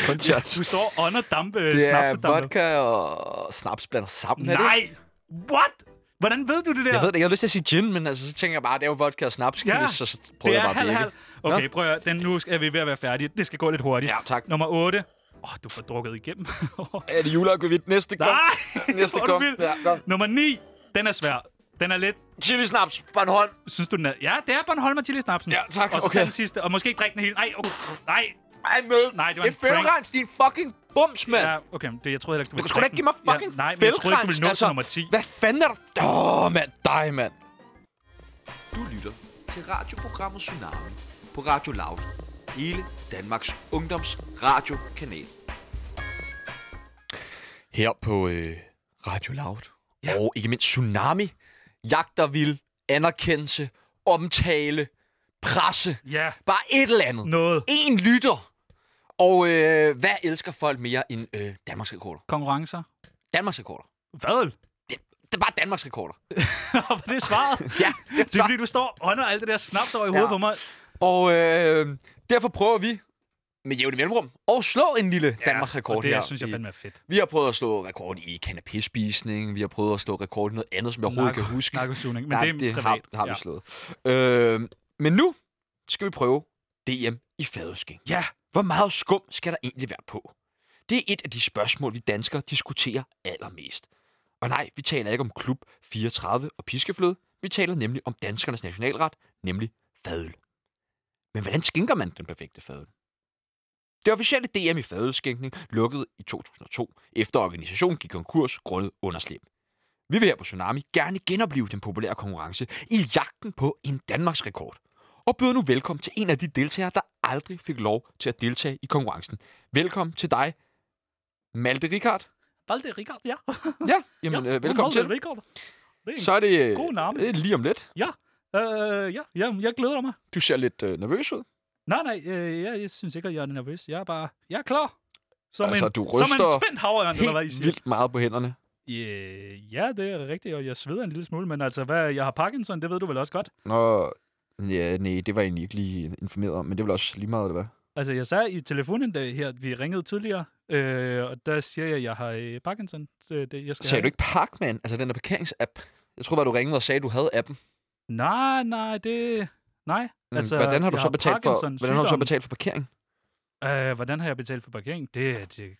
[SPEAKER 3] Kun shots.
[SPEAKER 1] Du står og ånder dampe,
[SPEAKER 3] Det er
[SPEAKER 1] snapsedampe.
[SPEAKER 3] vodka og snaps blandet sammen. Er det ikke?
[SPEAKER 1] Nej! What? Hvordan ved du det der?
[SPEAKER 3] Jeg ved det ikke, jeg har lyst til at sige gin, men altså, så tænker jeg bare, det er jo vodka og snaps,
[SPEAKER 1] Ja,
[SPEAKER 3] ja. så så prøver jeg bare at virke.
[SPEAKER 1] Okay,
[SPEAKER 3] Nå.
[SPEAKER 1] prøv at høre. Den, nu er vi ved at være færdige. Det skal gå lidt hurtigt.
[SPEAKER 3] Ja, tak.
[SPEAKER 1] Nummer 8. Åh, oh, du får drukket igennem.
[SPEAKER 3] Er det juleakvavit næste gang?
[SPEAKER 1] Nej!
[SPEAKER 3] Næste
[SPEAKER 1] hvor er du
[SPEAKER 3] gang.
[SPEAKER 1] vild.
[SPEAKER 3] Ja, kom.
[SPEAKER 1] Nummer 9. Den er svær. Den er lidt...
[SPEAKER 3] Chili snaps, Bornholm.
[SPEAKER 1] Synes du, den er... Ja, det er Bornholm og Chili Snapsen.
[SPEAKER 3] Ja, tak.
[SPEAKER 1] Og så
[SPEAKER 3] Okay.
[SPEAKER 1] okay. den sidste. Og måske ikke drikke den hele. Nej, okay. Nej.
[SPEAKER 3] Ej, møl.
[SPEAKER 1] Nej, det var
[SPEAKER 3] det
[SPEAKER 1] en
[SPEAKER 3] er fælderens, din fucking bums, mand.
[SPEAKER 1] Ja, okay. Det, jeg troede heller ikke, du
[SPEAKER 3] Du
[SPEAKER 1] ville
[SPEAKER 3] kan sgu da ikke
[SPEAKER 1] drikke
[SPEAKER 3] give mig
[SPEAKER 1] den.
[SPEAKER 3] fucking
[SPEAKER 1] ja, Nej, men jeg troede ikke, du ville nå
[SPEAKER 3] altså,
[SPEAKER 1] til nummer 10.
[SPEAKER 3] Hvad fanden er der? Åh, oh, mand. Dig, mand.
[SPEAKER 5] Du lytter til radioprogrammet Tsunami på Radio Loud. Hele Danmarks Ungdoms Radiokanal.
[SPEAKER 3] Her på øh, Radio Loud. Ja. Og ikke mindst Tsunami. Jagter vil anerkendelse, omtale, presse.
[SPEAKER 1] Ja,
[SPEAKER 3] Bare et eller andet.
[SPEAKER 1] noget.
[SPEAKER 3] En lytter. Og øh, hvad elsker folk mere end øh, Danmarks rekorder?
[SPEAKER 1] Konkurrencer.
[SPEAKER 3] Danmarks rekorder.
[SPEAKER 1] Hvad?
[SPEAKER 3] Det, det er bare Danmarks rekorder.
[SPEAKER 1] Nå, var det svaret?
[SPEAKER 3] Ja, det
[SPEAKER 1] Det er fordi, du står og ånder alt det der snaps over i hovedet
[SPEAKER 3] Ja.
[SPEAKER 1] på mig.
[SPEAKER 3] Og øh, derfor prøver vi med jævne mellemrum at slå en lille ja, Danmarks
[SPEAKER 1] og
[SPEAKER 3] rekord
[SPEAKER 1] det,
[SPEAKER 3] her.
[SPEAKER 1] jeg synes jeg
[SPEAKER 3] i-
[SPEAKER 1] fandme er fedt.
[SPEAKER 3] Vi har prøvet at slå rekord i kanapéspisning, vi har prøvet at slå rekord i noget andet, som jeg overhovedet ikke kan huske.
[SPEAKER 1] Narkosugning. Men
[SPEAKER 3] Nej,
[SPEAKER 1] det er
[SPEAKER 3] det har,
[SPEAKER 1] privat.
[SPEAKER 3] det har vi
[SPEAKER 1] ja.
[SPEAKER 3] slået. Øh, men nu skal vi prøve DM i fadøsking.
[SPEAKER 1] Ja.
[SPEAKER 3] Hvor meget skum skal der egentlig være på? Det er et af de spørgsmål, vi danskere diskuterer allermest. Og nej, vi taler ikke om klub 34 og piskefløde. Vi taler nemlig om danskernes nationalret, nemlig fadøl. Men hvordan skinker man den perfekte fadøl? Det officielle DM i fadølskænkning lukkede i 2002, efter organisationen gik konkurs grundet underslæb. Vi vil her på Tsunami gerne genopleve den populære konkurrence i jagten på en Danmarks rekord. og byder nu velkommen til en af de deltagere, der aldrig fik lov til at deltage i konkurrencen. Velkommen til dig, Malte Rikard.
[SPEAKER 1] Balde Rikard, ja.
[SPEAKER 3] Ja, jamen,
[SPEAKER 1] ja,
[SPEAKER 3] ja, øh, velkommen til.
[SPEAKER 1] Rikard. Det er en
[SPEAKER 3] Så er det øh,
[SPEAKER 1] god navn.
[SPEAKER 3] øh, lige om lidt.
[SPEAKER 1] Øh, ja, ja, jeg glæder mig.
[SPEAKER 3] Du ser lidt øh, nervøs ud.
[SPEAKER 1] Nej, nej, øh, jeg, jeg synes ikke, at jeg er nervøs. Jeg er bare... Jeg er klar. Som
[SPEAKER 3] Altså,
[SPEAKER 1] en,
[SPEAKER 3] du
[SPEAKER 1] Som en
[SPEAKER 3] ryster
[SPEAKER 1] spændt havørn, eller hvad I
[SPEAKER 3] Helt
[SPEAKER 1] siger.
[SPEAKER 3] vildt meget på hænderne.
[SPEAKER 1] Øh, ja, det er rigtigt, og jeg sveder en lille smule, men altså, hvad, jeg har Parkinson, det ved du vel også godt.
[SPEAKER 3] Nå, ja, nej, det var jeg egentlig ikke lige informeret om, men det var også lige meget, det var.
[SPEAKER 1] Altså, jeg sagde i telefonen dag her, at vi ringede tidligere, øh, og der siger jeg, at jeg har øh, Parkinson. Det, det, jeg skal
[SPEAKER 3] Sagde
[SPEAKER 1] have.
[SPEAKER 3] du ikke Parkman, altså den der parkeringsapp? Jeg tror bare, du ringede og sagde, at du havde appen.
[SPEAKER 1] Nej, nej, det... Nej. Altså,
[SPEAKER 3] Mm, hvordan har du
[SPEAKER 1] jeg
[SPEAKER 3] så betalt for,
[SPEAKER 1] Parkinsons
[SPEAKER 3] hvordan har du så
[SPEAKER 1] sygdom.
[SPEAKER 3] betalt for parkering?
[SPEAKER 1] Øh, hvordan har jeg betalt for parkering? Det, det,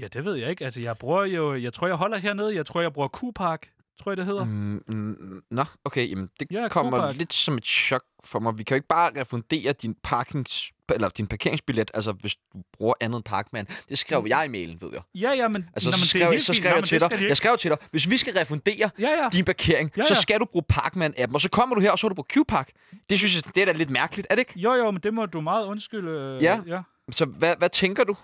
[SPEAKER 1] ja, det ved jeg ikke. Altså, jeg bruger jo... Jeg tror, jeg holder hernede. Jeg tror, jeg bruger Q-Park. Tror jeg, det hedder. Mm.
[SPEAKER 3] Mm, mm, nå, okay, jamen, det
[SPEAKER 1] Ja,
[SPEAKER 3] ja, kommer
[SPEAKER 1] Copark.
[SPEAKER 3] lidt som et chok for mig. Vi kan jo ikke bare refundere din, parkings, eller din parkeringsbillet, altså hvis du bruger andet end Parkman. Det skrev jeg i mailen, ved jeg.
[SPEAKER 1] Ja, ja, men...
[SPEAKER 3] Altså,
[SPEAKER 1] Mm. nå, men
[SPEAKER 3] så
[SPEAKER 1] det er
[SPEAKER 3] skrev, jeg,
[SPEAKER 1] helt
[SPEAKER 3] så
[SPEAKER 1] fint.
[SPEAKER 3] skrev
[SPEAKER 1] Nå,
[SPEAKER 3] jeg
[SPEAKER 1] men
[SPEAKER 3] til
[SPEAKER 1] det skal
[SPEAKER 3] dig,
[SPEAKER 1] de
[SPEAKER 3] jeg skrev til dig, hvis vi skal refundere
[SPEAKER 1] ikke. Ja, ja.
[SPEAKER 3] din parkering,
[SPEAKER 1] Ja, ja.
[SPEAKER 3] så skal du bruge Parkman-appen, og så kommer du her, og så har du på Q-Park. Det synes jeg, det er da lidt mærkeligt, er det ikke?
[SPEAKER 1] Jo, jo, men det må du meget undskylde. øh,
[SPEAKER 3] Ja.
[SPEAKER 1] ja.
[SPEAKER 3] Så hvad, hvad tænker du?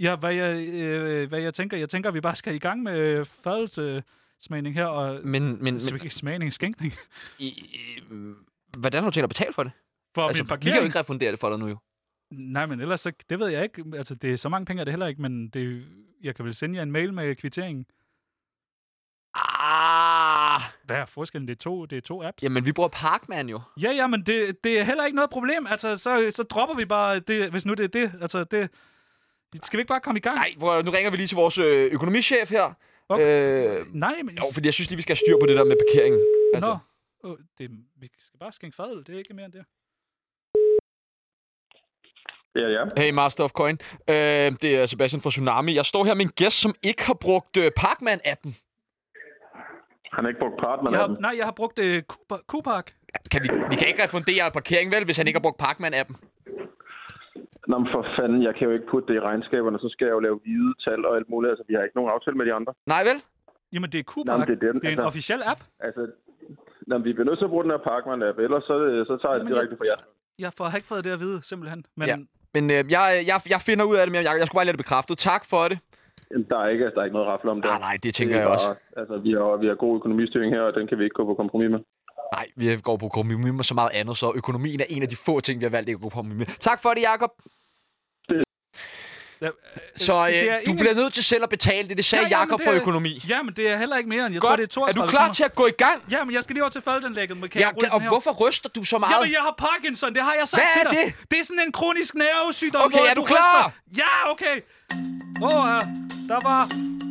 [SPEAKER 1] Ja, hvad jeg, øh, hvad jeg tænker, jeg tænker, at vi bare skal i gang med øh, fadelsmagning her, og
[SPEAKER 3] Men, men, men
[SPEAKER 1] men, ikke smagning, skænkning,
[SPEAKER 3] i, i, hvordan har du tænkt dig at betale for det?
[SPEAKER 1] for altså,
[SPEAKER 3] altså,
[SPEAKER 1] min
[SPEAKER 3] vi kan jo
[SPEAKER 1] parkering. Ikke...
[SPEAKER 3] ikke refundere det for dig nu, jo.
[SPEAKER 1] Nej, men ellers, så, det ved jeg ikke. Altså, det er så mange penge, er det heller ikke, men det, jeg kan vel sende jer en mail med kvitteringen.
[SPEAKER 3] Ah,
[SPEAKER 1] Hvad er forskellen? Det er to, det er to apps.
[SPEAKER 3] jamen, vi bruger Parkman jo.
[SPEAKER 1] Ja, ja, men det, det er heller ikke noget problem. Altså, så, så dropper vi bare det, hvis nu det er det. Altså, det... Skal vi ikke bare komme i gang?
[SPEAKER 3] Nej, prøv, at- nu ringer vi lige til vores ø- økonomichef her.
[SPEAKER 1] Okay.
[SPEAKER 3] Øh,
[SPEAKER 1] Nej, men...
[SPEAKER 3] jo, fordi jeg synes lige, vi skal have styr på det der med parkeringen. Altså,
[SPEAKER 1] Nå. Åh, det, vi skal bare skænke fadel. Det er ikke mere end det.
[SPEAKER 7] Ja, ja.
[SPEAKER 3] Hey, Master of Coin. Øh, det er Sebastian fra Tsunami. Jeg står her med en gæst, som ikke har brugt øh, Parkman-appen.
[SPEAKER 7] Han har ikke brugt partner
[SPEAKER 1] Jeg
[SPEAKER 7] af
[SPEAKER 1] har,
[SPEAKER 7] den.
[SPEAKER 1] nej, jeg har brugt øh, Q-Park- Q-Park.
[SPEAKER 3] Kan vi, vi kan ikke refundere parkering, vel, hvis han ikke har brugt Parkman-appen?
[SPEAKER 7] Nå, men for fanden, jeg kan jo ikke putte det i regnskaberne, så skal jeg jo lave hvide tal og alt muligt. Altså, vi har ikke nogen aftale med de andre.
[SPEAKER 3] Nej, vel?
[SPEAKER 1] Jamen, det er Q-Park.
[SPEAKER 7] Nå, men det er den,
[SPEAKER 1] det er en
[SPEAKER 7] altså.
[SPEAKER 1] officiel app.
[SPEAKER 7] Altså, nå, men vi bliver nødt til at bruge den her Parkman-app, ellers så, øh, så tager jeg det
[SPEAKER 1] Jamen,
[SPEAKER 7] direkte fra jer.
[SPEAKER 1] Jeg får har ikke fået det at vide, simpelthen. Men
[SPEAKER 3] Ja. Men øh, jeg, jeg, jeg finder ud af det mere, Jacob. Jeg skulle bare lade det bekræftet. Tak for det.
[SPEAKER 7] Jamen, Der er ikke, altså, der er ikke noget rafle om det.
[SPEAKER 3] Nej, nej, det tænker
[SPEAKER 7] Det er
[SPEAKER 3] jeg også.
[SPEAKER 7] bare- Altså, vi har, vi har god økonomistyring her, og den kan vi ikke gå på kompromis med.
[SPEAKER 3] Nej, vi går på kompromis med så meget andet, så økonomien er en af de få ting, vi har valgt ikke at gå på kompromis med. Tak for det, Jacob.
[SPEAKER 1] Ja, øh,
[SPEAKER 3] Så øh,
[SPEAKER 1] det er
[SPEAKER 3] du
[SPEAKER 1] ingen-
[SPEAKER 3] bliver nødt til selv at betale det. Det sagde
[SPEAKER 1] Ja, ja, men
[SPEAKER 3] Jacob
[SPEAKER 1] det
[SPEAKER 3] fra
[SPEAKER 1] er-
[SPEAKER 3] økonomi.
[SPEAKER 1] Ja, men det er heller ikke mere end... Jeg tror,
[SPEAKER 3] Godt.
[SPEAKER 1] det er 32
[SPEAKER 3] er du klar til at gå i gang?
[SPEAKER 1] Ja, men jeg skal lige over til fadelsanlægget. Men kan
[SPEAKER 3] Ja,
[SPEAKER 1] jeg rulle
[SPEAKER 3] og
[SPEAKER 1] den her?
[SPEAKER 3] hvorfor ryster du så meget?
[SPEAKER 1] Jamen, jeg har Parkinson, det har jeg sagt
[SPEAKER 3] Hvad
[SPEAKER 1] til
[SPEAKER 3] er
[SPEAKER 1] dig. det? Det er sådan en kronisk nervesygdom,
[SPEAKER 3] Okay,
[SPEAKER 1] hvor
[SPEAKER 3] er du klar?
[SPEAKER 1] ryster. Ja, okay. Åh, oh, uh, der var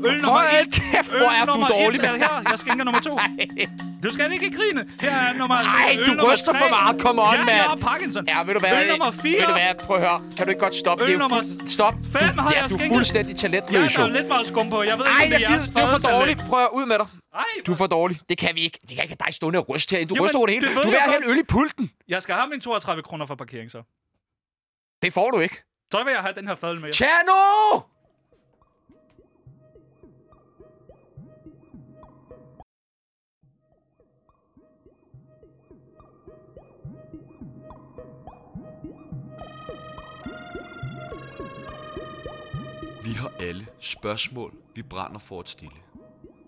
[SPEAKER 1] øl nummer
[SPEAKER 3] Hold
[SPEAKER 1] et.
[SPEAKER 3] kæft,
[SPEAKER 1] Øl
[SPEAKER 3] hvor er du
[SPEAKER 1] nummer
[SPEAKER 3] dårlig,
[SPEAKER 1] et er
[SPEAKER 3] mand.
[SPEAKER 1] her. Jeg skænker nummer to. Du skal ikke grine. Her er nummer
[SPEAKER 3] Ej,
[SPEAKER 1] øl
[SPEAKER 3] du
[SPEAKER 1] nummer
[SPEAKER 3] ryster
[SPEAKER 1] tre.
[SPEAKER 3] for meget. Come on,
[SPEAKER 1] ja,
[SPEAKER 3] mand.
[SPEAKER 1] jeg har Parkinson.
[SPEAKER 3] Ja, ved du hvad?
[SPEAKER 1] Øl nummer fire.
[SPEAKER 3] Ved du hvad? Prøv at høre. Kan du ikke godt stoppe?
[SPEAKER 1] Øl
[SPEAKER 3] det er jo
[SPEAKER 1] nummer
[SPEAKER 3] fuld... Stop. Du,
[SPEAKER 1] fem har
[SPEAKER 3] ja,
[SPEAKER 1] jeg
[SPEAKER 3] du er
[SPEAKER 1] skænket.
[SPEAKER 3] fuldstændig
[SPEAKER 1] Ja,
[SPEAKER 3] talentløs,
[SPEAKER 1] der
[SPEAKER 3] jo.
[SPEAKER 1] er lidt meget skum på. Jeg ved
[SPEAKER 3] Ej,
[SPEAKER 1] ikke, om det er
[SPEAKER 3] jeg gider,
[SPEAKER 1] jeres
[SPEAKER 3] det er for
[SPEAKER 1] fadelsanlæg.
[SPEAKER 3] dårligt. Prøv at ud med dig.
[SPEAKER 1] Ej,
[SPEAKER 3] Du er for dårlig. Det kan vi ikke. Det kan ikke have dig stående og ryste herinde. Du
[SPEAKER 1] Jamen,
[SPEAKER 3] ryster over det hele.
[SPEAKER 1] det ved
[SPEAKER 3] Du vil
[SPEAKER 1] jeg
[SPEAKER 3] have en øl i pulten.
[SPEAKER 1] jeg skal have mine 32 kroner for parkering, så.
[SPEAKER 3] Det får du ikke.
[SPEAKER 1] Så vil jeg have den her fadel med.
[SPEAKER 3] Tjano!
[SPEAKER 5] Vi har alle spørgsmål, vi brænder for at stille.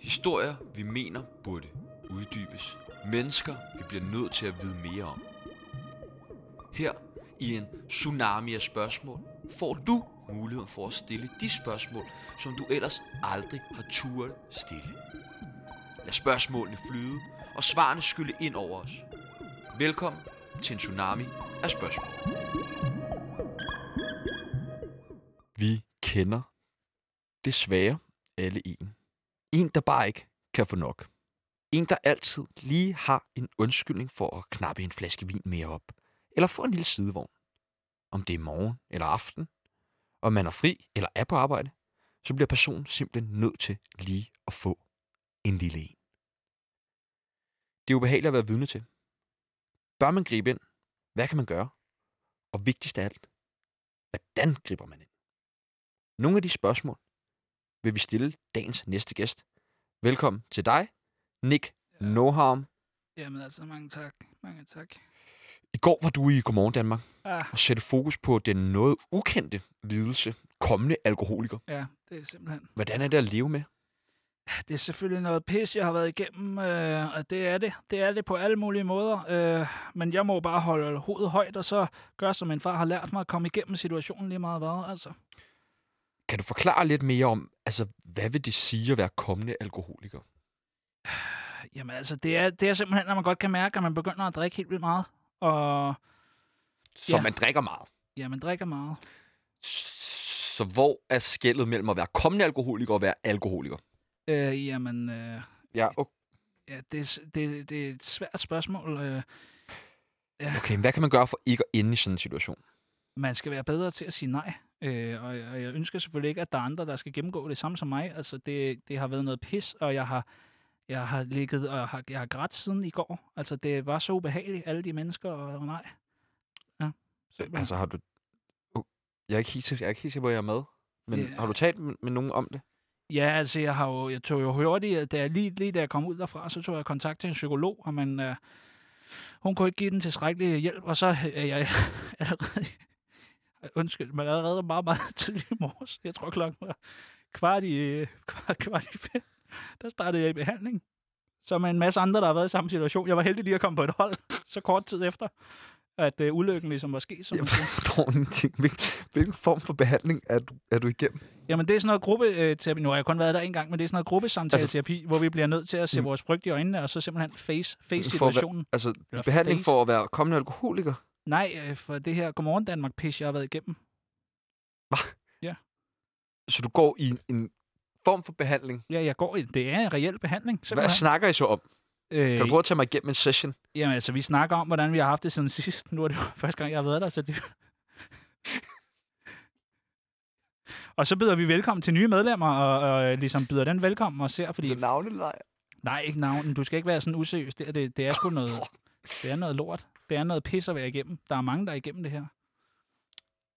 [SPEAKER 5] Historier, vi mener burde uddybes. Mennesker, vi bliver nødt til at vide mere om. Her i en tsunami af spørgsmål får du muligheden for at stille de spørgsmål, som du ellers aldrig har turet stille. Lad spørgsmålene flyde og svarene skylle ind over os. Velkommen til en tsunami af spørgsmål.
[SPEAKER 3] Vi kender desværre alle en. En, der bare ikke kan få nok. En, der altid lige har en undskyldning for at knappe en flaske vin mere op. Eller få en lille sidevogn. Om det er morgen eller aften. Om man er fri eller er på arbejde. Så bliver personen simpelthen nødt til lige at få en lille en. Det er ubehageligt at være vidne til. Bør man gribe ind? Hvad kan man gøre? Og vigtigst af alt, hvordan griber man ind? Nogle af de spørgsmål vil vi stille dagens næste gæst. Velkommen til dig, Nick Noharm.
[SPEAKER 1] Jamen altså, mange tak. Mange tak.
[SPEAKER 3] I går var du i Godmorgen Danmark
[SPEAKER 1] Ah,
[SPEAKER 3] og satte fokus på den noget ukendte lidelse, kommende alkoholiker.
[SPEAKER 1] ja, det er simpelthen...
[SPEAKER 3] Hvordan er det at leve med?
[SPEAKER 1] Det er selvfølgelig noget pis, jeg har været igennem, øh, og det er det. Det er det på alle mulige måder. Øh, men jeg må jo bare holde hovedet højt, og så gøre, som min far har lært mig, at komme igennem situationen lige meget hvad, altså.
[SPEAKER 3] Kan du forklare lidt mere om, altså, hvad vil det sige at være kommende alkoholiker?
[SPEAKER 1] Jamen altså, det er, det er simpelthen, når man godt kan mærke, at man begynder at drikke helt vildt meget. Og
[SPEAKER 3] Så
[SPEAKER 1] Ja.
[SPEAKER 3] man drikker meget.
[SPEAKER 1] ja, man drikker meget.
[SPEAKER 3] Så hvor er skældet mellem at være kommende alkoholiker og være alkoholiker?
[SPEAKER 1] Øh, jamen, øh,
[SPEAKER 3] Ja, okay.
[SPEAKER 1] ja, det, er s- det, det er et svært spørgsmål. Øh,
[SPEAKER 3] okay. men Hvad kan man gøre for ikke at ende i sådan en situation?
[SPEAKER 1] man skal være bedre til at sige nej. Øh, og, jeg- og jeg ønsker selvfølgelig ikke, at der er andre, der skal gennemgå det samme som mig. Altså, det, det har været noget pis, og jeg har, jeg har ligget og har, jeg har grædt siden i går. Altså, det var så ubehageligt, alle de mennesker, og, og nej. Ja, simpelthen.
[SPEAKER 3] Altså, har du... Uh, Jeg er ikke helt, sikker- jeg er ikke helt sikker på, at jeg er med. Men
[SPEAKER 1] Ja.
[SPEAKER 3] har du talt med, med nogen om det?
[SPEAKER 1] Ja, altså, jeg, har jo, jeg tog jo hurtigt, øh, da jeg lige, lige da jeg kom ud derfra, så tog jeg kontakt til en psykolog, og man, øh, hun kunne ikke give den tilstrækkelig hjælp, og så øh, er jeg allerede, undskyld, men allerede meget, meget tidlig i morges, jeg tror klokken var kvart i, øh, kvart, kvart i fem, der startede jeg i behandling. Så med en masse andre, der har været i samme situation. Jeg var heldig lige at komme på et hold så kort tid efter, at øh, ulykken ligesom var sket. Som man siger.
[SPEAKER 3] forstår ingenting. Hvilken, hvilken form for behandling er du, er du igennem?
[SPEAKER 1] Jamen, det er sådan noget gruppeterapi. Nu har jeg kun været der en gang, men det er sådan noget gruppesamtaleterapi, altså, hvor vi bliver nødt til at se
[SPEAKER 3] Mm.
[SPEAKER 1] vores frygt i øjnene, og så simpelthen face, face
[SPEAKER 3] For at være-
[SPEAKER 1] situationen.
[SPEAKER 3] Altså,
[SPEAKER 1] Eller
[SPEAKER 3] behandling
[SPEAKER 1] face.
[SPEAKER 3] for at være kommende alkoholiker?
[SPEAKER 1] Nej, øh, for det her Godmorgen Danmark-pis, jeg har været igennem.
[SPEAKER 3] Så du går i en, en form for behandling.
[SPEAKER 1] Ja, jeg går i, det er en reel behandling,
[SPEAKER 3] Hvad
[SPEAKER 1] simpelthen.
[SPEAKER 3] snakker I så om?
[SPEAKER 1] øh,
[SPEAKER 3] Kan du prøve at tage mig igennem en session?
[SPEAKER 1] Jamen, altså, vi snakker om, hvordan vi har haft det siden sidst. Nu er det jo første gang, jeg har været der, så det... og så byder vi velkommen til nye medlemmer, og, og øh, ligesom byder den velkommen og ser, fordi...
[SPEAKER 3] Til navnelejr?
[SPEAKER 1] Nej, ikke navnen. Du skal ikke være sådan useriøs. Det, er- det, det er sgu noget... Det er noget lort. Det er noget pis at være igennem. Der er mange, der er igennem det her.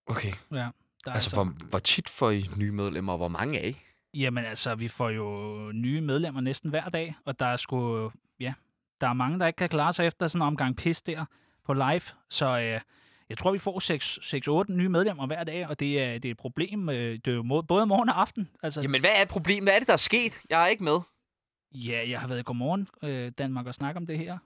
[SPEAKER 3] Okay,
[SPEAKER 1] Der er
[SPEAKER 3] altså, hvor, hvor tit får I nye medlemmer, og hvor mange er I?
[SPEAKER 1] Jamen altså, vi får jo nye medlemmer næsten hver dag, og der er sgu... Ja, der er mange, der ikke kan klare sig efter sådan en omgang pis der på live. Så øh, jeg tror, vi får 6-8 nye medlemmer hver dag, og det er, det er et problem. Øh, det er jo mod, både morgen og aften. Altså,
[SPEAKER 3] Jamen, hvad er problemet? Hvad er det, der er sket? Jeg er ikke med.
[SPEAKER 1] Ja, jeg har været i Godmorgen øh, Danmark og snakke om det her.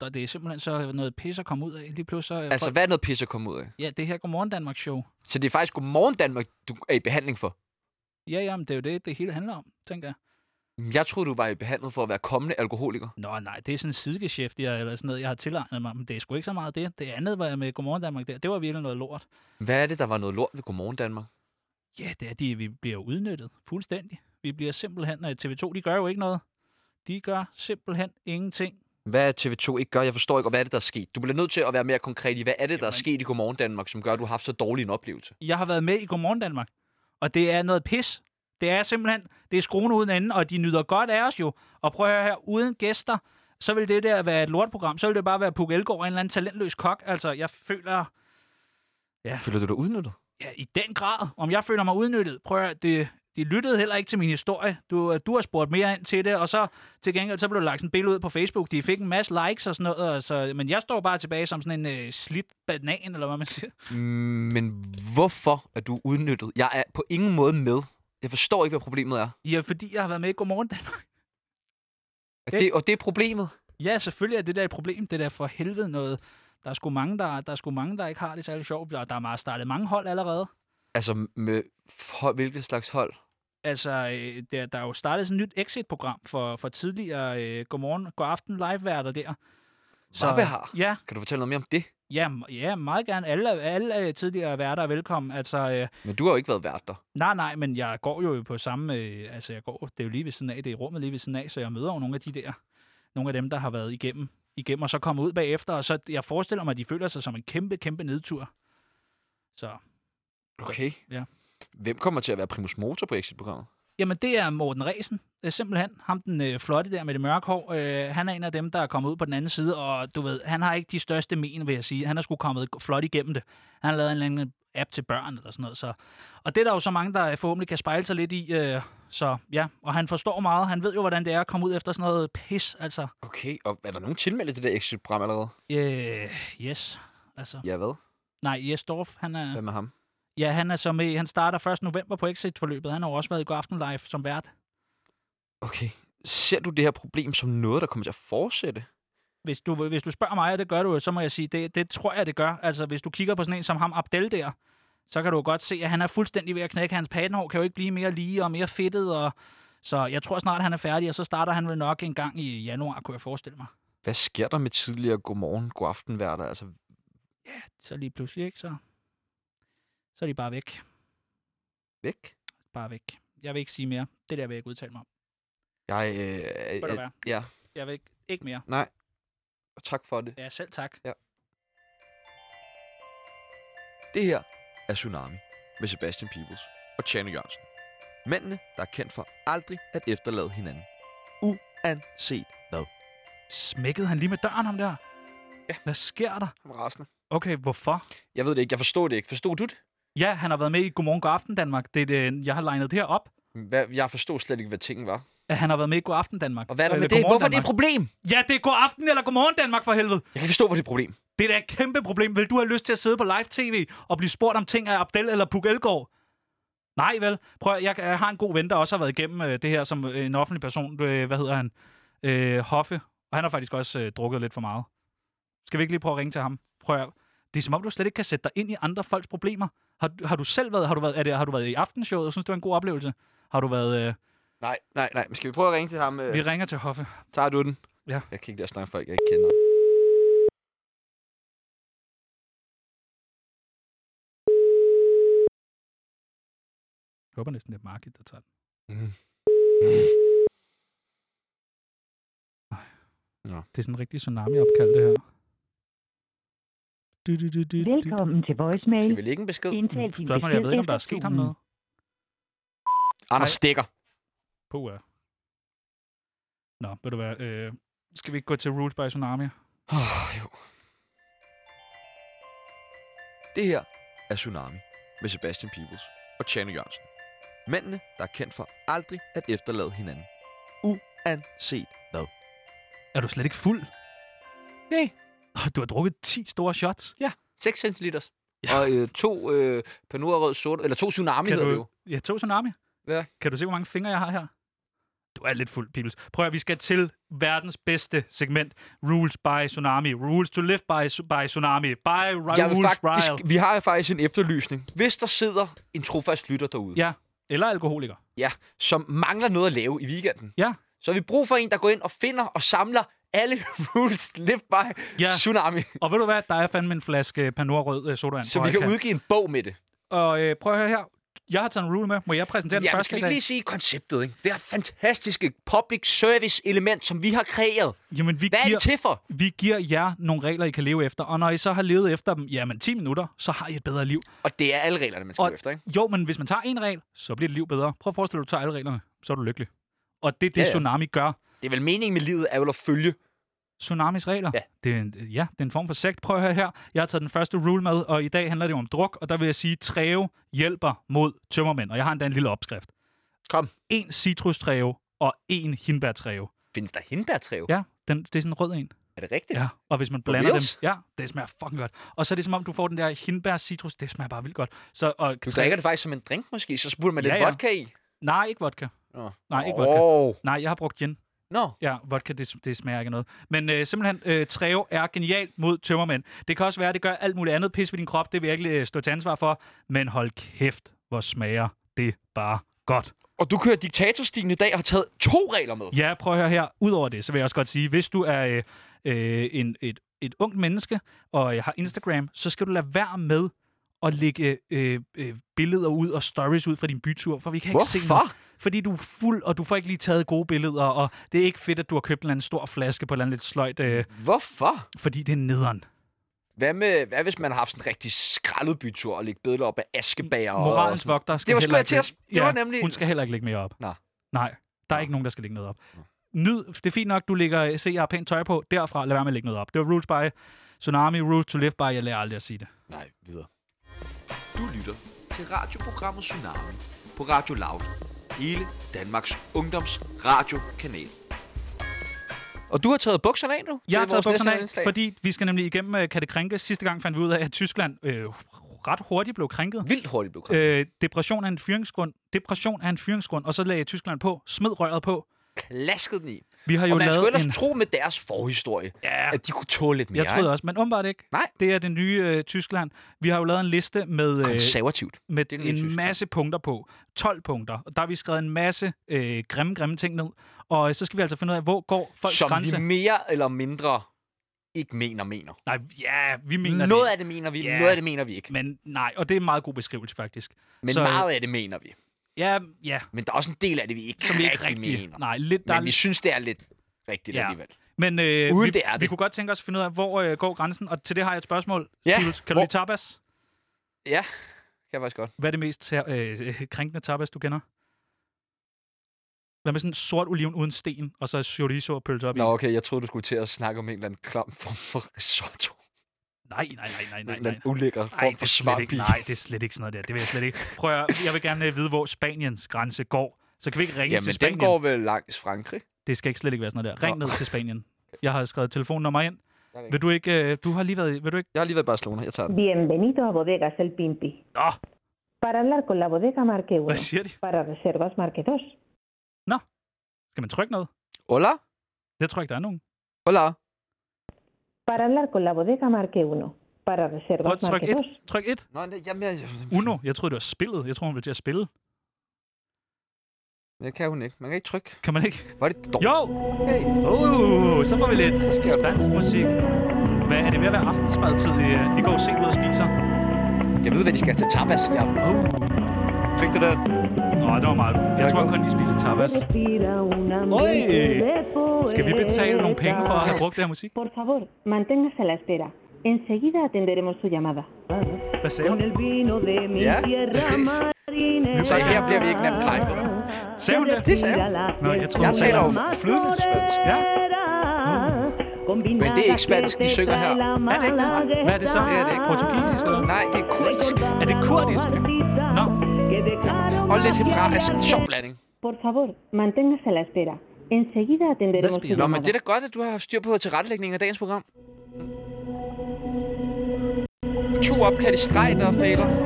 [SPEAKER 1] Der, det er simpelthen så noget pis at komme ud af. Lige pludselig... så, øh,
[SPEAKER 3] Altså, hvad er noget pis at komme ud af?
[SPEAKER 1] Ja, det her Godmorgen Danmark show.
[SPEAKER 3] Så det er faktisk Godmorgen Danmark, du er i behandling for.
[SPEAKER 1] Ja, jamen, det er jo det, det hele handler om, tænker jeg.
[SPEAKER 3] Jeg troede, du var i behandling for at være kommende alkoholiker.
[SPEAKER 1] Nå, nej, det er sådan en sidegeschæft, jeg, eller sådan noget, jeg har tilegnet mig, men det er sgu ikke så meget det. Det andet var jeg med Godmorgen Danmark der, det var virkelig noget lort.
[SPEAKER 3] Hvad er det, der var noget lort ved Godmorgen Danmark?
[SPEAKER 1] Ja, det er de, vi bliver udnyttet fuldstændig. Vi bliver simpelthen, øh, TV2, de gør jo ikke noget. De gør simpelthen ingenting.
[SPEAKER 3] Hvad er TV2 ikke gør? Jeg forstår ikke, og hvad er det, der er sket? Du bliver nødt til at være mere konkret i, hvad er det, der er
[SPEAKER 1] Jamen.
[SPEAKER 3] sket i Godmorgen Danmark, som gør, at du har haft så dårlig en oplevelse?
[SPEAKER 1] Jeg har været med i Godmorgen Danmark, og det er noget pis. Det er simpelthen, det er skruen uden anden, og de nyder godt af os jo. Og prøv at høre her, uden gæster, så vil det der være et lortprogram. Så vil det bare være Puk Elgård og en eller anden talentløs kok. Altså, jeg føler,
[SPEAKER 3] Føler du dig udnyttet?
[SPEAKER 1] Ja, i den grad. Om jeg føler mig udnyttet. Prøv at høre, det, de lyttede heller ikke til min historie. Du, du har spurgt mere ind til det, og så til gengæld så blev der lagt sådan et billede ud på Facebook. De fik en masse likes og sådan noget, og så, men jeg står bare tilbage som sådan en øh, slidt banan, eller hvad man siger.
[SPEAKER 3] Mm, Men hvorfor er du udnyttet? Jeg er på ingen måde med. Jeg forstår ikke, hvad problemet er.
[SPEAKER 1] Ja, fordi jeg har været med i Godmorgen Danmark.
[SPEAKER 3] Og
[SPEAKER 1] Det-
[SPEAKER 3] det, og det er problemet.
[SPEAKER 1] Ja, selvfølgelig er det der et problem. Det der for helvede noget. Der er sgu mange, der, der, er sgu mange, der ikke har det særlig sjovt. Der, der er meget startet mange hold allerede.
[SPEAKER 3] Altså, med hold, hvilket slags hold?
[SPEAKER 1] Altså, øh, der, der er jo startet sådan et nyt exit-program for, for tidligere øh, Godmorgen, Godaften live-værter der.
[SPEAKER 3] Vabbehar?
[SPEAKER 1] Ja,
[SPEAKER 3] Kan du fortælle noget mere om det?
[SPEAKER 1] Ja, m- ja meget gerne. Alle, alle øh, tidligere værter er velkommen. Altså, øh,
[SPEAKER 3] Men du har jo ikke været vært der.
[SPEAKER 1] nej, nej, men jeg går jo på samme... Øh, altså, jeg går, det er jo lige ved siden af, det er i rummet lige ved siden af, så jeg møder jo nogle af de der... Nogle af dem, der har været igennem, igennem og så kommer ud bagefter, og så jeg forestiller mig, at de føler sig som en kæmpe, kæmpe nedtur. Så,
[SPEAKER 3] Okay.
[SPEAKER 1] Ja.
[SPEAKER 3] Hvem kommer til at være primus motor på Exit-programmet?
[SPEAKER 1] jamen det er Morten Resen, øh, simpelthen. Ham den øh, flotte der med det mørke hår, øh, han er en af dem, der er kommet ud på den anden side, og du ved, han har ikke de største men, vil jeg sige. Han er sgu kommet flot igennem det. Han har lavet en eller anden app til børn eller sådan noget. Så. Og det er der jo så mange, der øh, forhåbentlig kan spejle sig lidt i. Øh, så ja, og han forstår meget. Han ved jo, hvordan det er at komme ud efter sådan noget pis, altså.
[SPEAKER 3] Okay, og er der nogen tilmeldte til det der exit-program allerede?
[SPEAKER 1] Øh, yes. Altså,
[SPEAKER 3] Ja, hvad?
[SPEAKER 1] nej, Jesdorf, han er...
[SPEAKER 3] Hvem er ham?
[SPEAKER 1] Ja, han er så med. Han starter 1. november på Exit-forløbet. Han har jo også været i går aften live som vært.
[SPEAKER 3] Okay. Ser du det her problem som noget, der kommer til at fortsætte?
[SPEAKER 1] Hvis du, hvis du spørger mig, og det gør du jo, så må jeg sige, det, det tror jeg, det gør. Altså, hvis du kigger på sådan en som ham Abdel der, så kan du jo godt se, at han er fuldstændig ved at knække. Hans patenhår kan jo ikke blive mere lige og mere fedtet. Og... Så jeg tror snart, han er færdig, og så starter han vel nok en gang i januar, kunne jeg forestille mig.
[SPEAKER 3] Hvad sker der med tidligere godmorgen, godaftenværter? Altså,
[SPEAKER 1] Så lige pludselig, ikke? Så, så er de bare væk.
[SPEAKER 3] væk?
[SPEAKER 1] Bare væk. Jeg vil ikke sige mere. Det der vil jeg ikke udtale mig om.
[SPEAKER 3] Jeg, øh,
[SPEAKER 1] Må det
[SPEAKER 3] øh,
[SPEAKER 1] være.
[SPEAKER 3] ja,
[SPEAKER 1] Jeg vil ikke, ikke mere.
[SPEAKER 3] tak for det.
[SPEAKER 1] Ja, selv tak.
[SPEAKER 5] Det her er Tsunami med Sebastian Peebles og Tjano Jørgensen. Mændene, der er kendt for aldrig at efterlade hinanden. Uanset hvad.
[SPEAKER 1] Smækkede han lige med døren om der? Ja. Hvad sker der?
[SPEAKER 3] Han var rasende.
[SPEAKER 1] Okay, hvorfor?
[SPEAKER 3] Jeg ved det ikke. Jeg forstod det ikke. Forstod du det?
[SPEAKER 1] Ja, han har været med i Godmorgen God Aften Danmark. Det er det, øh, jeg har legnet det her op.
[SPEAKER 3] Hvad, jeg forstod slet ikke, hvad tingen var.
[SPEAKER 1] At han har været med i God Aften Danmark.
[SPEAKER 3] Og hvad er der
[SPEAKER 1] Eller
[SPEAKER 3] med det?
[SPEAKER 1] Godmorgen
[SPEAKER 3] Hvorfor er det
[SPEAKER 1] Danmark.
[SPEAKER 3] et problem?
[SPEAKER 1] Ja, det er God Aften eller Godmorgen Danmark for helvede.
[SPEAKER 3] Jeg kan forstå, hvor det er et problem.
[SPEAKER 1] Det er da et kæmpe problem. Vil du have lyst til at sidde på live tv og blive spurgt om ting af Abdel eller Puk Elgård? Nej vel. Prøv, at- jeg, jeg har en god ven, der også har været igennem øh, det her som øh, en offentlig person. Øh, hvad hedder han? Øh, Hoffe. Og han har faktisk også øh, drukket lidt for meget. Skal vi ikke lige prøve at ringe til ham? Prøv at, Det er som om, du slet ikke kan sætte dig ind i andre folks problemer. Har, du- har du selv været, har du været, er det, har du været i aftenshowet og synes, det var en god oplevelse? Har du været... Øh,
[SPEAKER 3] Nej, nej, nej. Men Skal vi prøve at ringe til ham? Øh,
[SPEAKER 1] vi ringer til Hoffe.
[SPEAKER 3] tager du den?
[SPEAKER 1] Ja.
[SPEAKER 3] Jeg kan ikke lade at snakke med folk, jeg ikke kender.
[SPEAKER 1] Jeg håber næsten, det er Margit, der tager den.
[SPEAKER 3] Mm.
[SPEAKER 1] Det er sådan en rigtig tsunami-opkald, det her. Du, du, du, du, du.
[SPEAKER 8] Velkommen til
[SPEAKER 3] Skal vi
[SPEAKER 8] voicemail.
[SPEAKER 3] lægge en besked?
[SPEAKER 8] Indtal din
[SPEAKER 1] Spørgsmålet, er, jeg ved ikke, om der
[SPEAKER 8] efter
[SPEAKER 1] er sket ham
[SPEAKER 8] tonen.
[SPEAKER 1] noget.
[SPEAKER 3] Anders stikker.
[SPEAKER 1] På er. Nå, ved du hvad, øh, skal vi ikke gå til Rules by Tsunami?
[SPEAKER 3] Oh,
[SPEAKER 5] Ah,
[SPEAKER 3] jo.
[SPEAKER 5] Det her er Tsunami med Sebastian Peebles og Tjano Jørgensen. Mændene, der er kendt for aldrig at efterlade hinanden. Uanset hvad.
[SPEAKER 1] Er du slet ikke fuld?
[SPEAKER 3] Nej.
[SPEAKER 1] Åh, Du har drukket 10 store shots.
[SPEAKER 3] 6 centiliters. Ja. Og øh, to øh, panurerød sort, eller to tsunami hedder det jo.
[SPEAKER 1] du, ja, to tsunami.
[SPEAKER 3] Ja.
[SPEAKER 1] Kan du se, hvor mange fingre jeg har her? Du er lidt fuld, Pibels. Prøv at vi skal til verdens bedste segment. Rules by Tsunami. Rules to live by, by Tsunami. By Ra-
[SPEAKER 3] Jeg vil
[SPEAKER 1] Rules
[SPEAKER 3] faktisk,
[SPEAKER 1] Ryle.
[SPEAKER 3] vi har faktisk en efterlysning. Hvis der sidder en trofast lytter derude,
[SPEAKER 1] Ja, eller alkoholiker.
[SPEAKER 3] ja, som mangler noget at lave i weekenden,
[SPEAKER 1] Ja.
[SPEAKER 3] så har vi brug for en, der går ind og finder og samler alle rules live by
[SPEAKER 1] Ja.
[SPEAKER 3] ja. tsunami,
[SPEAKER 1] Og ved du hvad? Der er fandme en flaske panorrød øh, sodavand.
[SPEAKER 3] så
[SPEAKER 1] på
[SPEAKER 3] vi kan
[SPEAKER 1] højkant.
[SPEAKER 3] udgive en bog med det.
[SPEAKER 1] Og øh, prøv at høre her. Jeg har taget en rule med. Må jeg præsentere den
[SPEAKER 3] Ja, men
[SPEAKER 1] første i
[SPEAKER 3] skal vi
[SPEAKER 1] dag?
[SPEAKER 3] ikke lige sige konceptet, ikke? Det her fantastiske public service element, som vi har kreeret.
[SPEAKER 1] Jamen, vi
[SPEAKER 3] Hvad er
[SPEAKER 1] giver,
[SPEAKER 3] det til for?
[SPEAKER 1] vi giver jer nogle regler, I kan leve efter. Og når I så har levet efter dem, jamen 10 minutter, så har I et bedre liv.
[SPEAKER 3] Og det er alle reglerne, man skal
[SPEAKER 1] Og-
[SPEAKER 3] og... efter, ikke?
[SPEAKER 1] Jo, men hvis man tager en regel, så bliver dit liv bedre. Prøv at forestille dig, at du tager alle reglerne. Så er du lykkelig. Og det er det,
[SPEAKER 3] Ja, ja.
[SPEAKER 1] Tsunami gør.
[SPEAKER 3] Det er vel meningen med livet, er vel at følge.
[SPEAKER 1] Tsunamis regler.
[SPEAKER 3] Ja.
[SPEAKER 1] Det er en, ja, det er en form for sekt. Prøv at høre her. Jeg har taget den første rule med, og i dag handler det jo om druk, og der vil jeg sige, træve hjælper mod tømmermænd. Og jeg har endda en lille opskrift.
[SPEAKER 3] Kom.
[SPEAKER 1] En citrustræve og en hindbærtræve.
[SPEAKER 3] Findes der hindbærtræve?
[SPEAKER 1] Ja, den, det er sådan en rød en.
[SPEAKER 3] Er det rigtigt?
[SPEAKER 1] Ja, og hvis man
[SPEAKER 3] For
[SPEAKER 1] blander dem,
[SPEAKER 3] reals?
[SPEAKER 1] ja, det smager fucking godt. Og så er det som om, du får den der hindbær citrus, det smager bare vildt godt. Så, og
[SPEAKER 3] Du drikker det faktisk som en drink måske, så putter man lidt
[SPEAKER 1] Ja, ja.
[SPEAKER 3] vodka i.
[SPEAKER 1] Nej, ikke vodka.
[SPEAKER 3] Nå.
[SPEAKER 1] Nej, ikke vodka.
[SPEAKER 3] oh.
[SPEAKER 1] Nej, jeg har brugt gin.
[SPEAKER 3] Nå,
[SPEAKER 1] Ja, vodka, det, det smager ikke af noget. Men øh, simpelthen, øh, træve er genialt mod tømmermænd. Det kan også være, at det gør alt muligt andet. Pis ved din krop, det vil jeg ikke øh, stå til ansvar for. Men hold kæft, hvor smager det bare godt.
[SPEAKER 3] og du kører diktatorstilen i dag og har taget to regler med.
[SPEAKER 1] Ja, prøv at høre her. Udover det, så vil jeg også godt sige, hvis du er øh, øh, en, et, et ungt menneske og øh, har Instagram, så skal du lade være med at lægge øh, øh, billeder ud og stories ud fra din bytur, for vi kan ikke se noget.
[SPEAKER 3] Hvorfor?
[SPEAKER 1] Fordi du er fuld, og du får ikke lige taget gode billeder, og det er ikke fedt, at du har købt en eller anden stor flaske på et eller andet lidt sløjt, øh,
[SPEAKER 3] Hvorfor?
[SPEAKER 1] fordi det er nederen.
[SPEAKER 3] Hvad, med, hvad hvis man har haft sådan en rigtig skraldet bytur og lægger billeder op af askebager? og-
[SPEAKER 1] Moralens
[SPEAKER 3] og sådan-
[SPEAKER 1] vogter skal
[SPEAKER 3] Det var sgu
[SPEAKER 1] heller
[SPEAKER 3] jeg til
[SPEAKER 1] ikke-
[SPEAKER 3] at s- det var nemlig-
[SPEAKER 1] Hun skal heller ikke lægge mere op.
[SPEAKER 3] Nå.
[SPEAKER 1] Nej, der er ikke nogen, der skal lægge noget op. Nyd, det er fint nok, du lægger, se, jeg har pænt tøj på. Derfra, lad være med at lægge noget op. Det var rules by Tsunami, rules to live by. Jeg lærer aldrig at sige det.
[SPEAKER 3] Nej, videre.
[SPEAKER 5] Du lytter til radioprogrammet Tsunami på Radio Loud. Hele Danmarks Ungdoms Radiokanal.
[SPEAKER 3] Og du har taget bukserne af nu?
[SPEAKER 1] Jeg har
[SPEAKER 3] til vores
[SPEAKER 1] taget bukserne
[SPEAKER 3] næste
[SPEAKER 1] af,
[SPEAKER 3] indslag.
[SPEAKER 1] fordi vi skal nemlig igennem øh, Katte Krænke. Sidste gang fandt vi ud af, at Tyskland øh, ret hurtigt blev krænket.
[SPEAKER 3] Vildt hurtigt blev krænket.
[SPEAKER 1] Øh, depression er en fyringsgrund. Depression er en fyringsgrund. Og så lagde Tyskland på. Smid røret på.
[SPEAKER 3] Klasket den i.
[SPEAKER 1] Vi Øh, har jo
[SPEAKER 3] Og man skulle
[SPEAKER 1] lavet
[SPEAKER 3] ellers
[SPEAKER 1] en...
[SPEAKER 3] tro med deres forhistorie,
[SPEAKER 1] Ja,
[SPEAKER 3] at de kunne tåle lidt mere.
[SPEAKER 1] jeg troede også, men åbenbart ikke.
[SPEAKER 3] Nej.
[SPEAKER 1] Det er det nye øh, Tyskland. Vi har jo lavet en liste med,
[SPEAKER 3] ikke?
[SPEAKER 1] øh,
[SPEAKER 3] Konservativt.
[SPEAKER 1] med
[SPEAKER 3] det er
[SPEAKER 1] det
[SPEAKER 3] den nye
[SPEAKER 1] en
[SPEAKER 3] Tyskland.
[SPEAKER 1] masse punkter på. 12 punkter. Og der har vi skrevet en masse øh, grimme, grimme ting ned. Og øh, så skal vi altså finde ud af, hvor går folks
[SPEAKER 3] Som
[SPEAKER 1] grænse?
[SPEAKER 3] vi mere eller mindre ikke mener mener.
[SPEAKER 1] Nej, ja, vi mener
[SPEAKER 3] noget
[SPEAKER 1] det.
[SPEAKER 3] af det mener vi,
[SPEAKER 1] Ja.
[SPEAKER 3] noget af det mener vi ikke.
[SPEAKER 1] Men nej, og det er en meget god beskrivelse faktisk.
[SPEAKER 3] Men
[SPEAKER 1] Så-
[SPEAKER 3] meget af det mener vi.
[SPEAKER 1] Ja, ja,
[SPEAKER 3] Men der er også en del af det, vi ikke,
[SPEAKER 1] som vi ikke
[SPEAKER 3] rigtig,
[SPEAKER 1] rigtig...
[SPEAKER 3] mener.
[SPEAKER 1] Nej, lidt der er
[SPEAKER 3] Men vi synes, det er lidt rigtigt
[SPEAKER 1] Ja.
[SPEAKER 3] ja. alligevel.
[SPEAKER 1] Men øh,
[SPEAKER 3] Uden
[SPEAKER 1] vi,
[SPEAKER 3] det er det.
[SPEAKER 1] vi kunne godt tænke os at finde ud af, hvor øh, går grænsen. Og til det har jeg et spørgsmål.
[SPEAKER 3] Ja,
[SPEAKER 1] Jules, kan du
[SPEAKER 3] hvor-
[SPEAKER 1] lide tapas?
[SPEAKER 3] Ja, kan jeg faktisk godt.
[SPEAKER 1] Hvad er det mest ter- øh, krænkende tapas, du kender? Hvad med sådan en sort oliven uden sten, og så chorizo og pølse op
[SPEAKER 3] Nå,
[SPEAKER 1] i?
[SPEAKER 3] okay, jeg troede, du skulle til at snakke om en eller anden klam form for risotto.
[SPEAKER 1] Nej, nej, nej, nej,
[SPEAKER 3] en
[SPEAKER 1] nej.
[SPEAKER 3] eller
[SPEAKER 1] nej.
[SPEAKER 3] anden ulækker
[SPEAKER 1] Nej,
[SPEAKER 3] form
[SPEAKER 1] det
[SPEAKER 3] for
[SPEAKER 1] er slet
[SPEAKER 3] svamp
[SPEAKER 1] ikke,
[SPEAKER 3] i.
[SPEAKER 1] nej, det er slet ikke sådan noget der. Det vil jeg slet ikke. Prøv at, høre, jeg vil gerne øh, vide, hvor Spaniens grænse går. Så kan vi ikke ringe til
[SPEAKER 3] Jamen, den
[SPEAKER 1] Spanien.
[SPEAKER 3] går vel langs Frankrig.
[SPEAKER 1] Det skal ikke slet ikke være sådan noget der. Ring
[SPEAKER 3] Nå.
[SPEAKER 1] ned til Spanien. Jeg har skrevet telefonnummer ind.
[SPEAKER 3] Jeg ringer.
[SPEAKER 1] Vil du ikke... Øh, du har lige været... i- Vil du ikke...
[SPEAKER 3] Jeg har lige været i Barcelona, jeg tager den.
[SPEAKER 8] Bienvenido a Bodegas El Pimpi.
[SPEAKER 1] Nå,
[SPEAKER 8] Para hablar con la bodega marque 1.
[SPEAKER 1] hvad siger de?
[SPEAKER 8] Para reservas marque 2.
[SPEAKER 1] Skal man trykke noget?
[SPEAKER 3] Hola,
[SPEAKER 1] Jeg tror ikke, der er nogen.
[SPEAKER 3] hola.
[SPEAKER 8] Para hablar con la bodega marque 1. Para
[SPEAKER 1] Prøv at
[SPEAKER 8] reservas
[SPEAKER 1] trykke
[SPEAKER 8] marque 2.
[SPEAKER 1] et. Tryk et.
[SPEAKER 3] Nå, nej, jamen, jeg,
[SPEAKER 1] Uno. Jeg troede, det var spillet. Jeg tror, hun ville til at spille.
[SPEAKER 3] jeg kan hun ikke. Man kan ikke trykke.
[SPEAKER 1] Kan man ikke?
[SPEAKER 3] Var det dårligt?
[SPEAKER 1] Jo!
[SPEAKER 3] Hey.
[SPEAKER 1] Uh, så får vi lidt
[SPEAKER 3] sker der.
[SPEAKER 1] spansk musik. Hvad er det ved at være aftensmadtid? Øh, De går sent ud og spiser.
[SPEAKER 3] Jeg ved, hvad de skal til tapas i aften.
[SPEAKER 1] Uh.
[SPEAKER 3] Fik du den?
[SPEAKER 1] Nå, det var meget godt. Jeg
[SPEAKER 3] var
[SPEAKER 1] tror
[SPEAKER 3] godt.
[SPEAKER 1] kun, de spiser tapas.
[SPEAKER 8] Respira un
[SPEAKER 1] Oye,
[SPEAKER 8] ambiente de
[SPEAKER 1] Skal vi betale nogle penge for at have
[SPEAKER 8] poetas.
[SPEAKER 1] brugt det her musik?
[SPEAKER 8] eh, Por favor, manténgase a la espera. Enseguida atenderemos su llamada.
[SPEAKER 1] Hvad sagde hun?
[SPEAKER 8] Con el vino de mi
[SPEAKER 3] Ya,
[SPEAKER 8] tierra
[SPEAKER 3] precis.
[SPEAKER 8] marinera.
[SPEAKER 3] Så her bliver vi ikke nemt krænket.
[SPEAKER 1] Sagde hun det?
[SPEAKER 3] Det sagde hun.
[SPEAKER 1] Nå, jeg tror,
[SPEAKER 3] Jeg
[SPEAKER 1] hun
[SPEAKER 3] taler
[SPEAKER 1] sagde-
[SPEAKER 3] jo flydende spansk.
[SPEAKER 1] Ja.
[SPEAKER 8] Men
[SPEAKER 3] Men det er ikke spansk, de synger her.
[SPEAKER 1] Er det ikke det? Hvad er det så?
[SPEAKER 3] Det er det ikke.
[SPEAKER 1] Portugisisk eller hvad?
[SPEAKER 3] Nej, det er kurdisk.
[SPEAKER 1] Er det kurdisk? Nå,
[SPEAKER 3] Og lidt hebraisk. Sjov blanding.
[SPEAKER 8] Por favor, manténgase a la espera. Enseguida atenderemos su
[SPEAKER 1] Lesbian.
[SPEAKER 3] Nå, men
[SPEAKER 8] llamada.
[SPEAKER 3] det er da godt, at du har haft styr på tilrettelægningen af dagens program. To opkald i streg, der fejler.
[SPEAKER 1] det kan
[SPEAKER 3] Jeg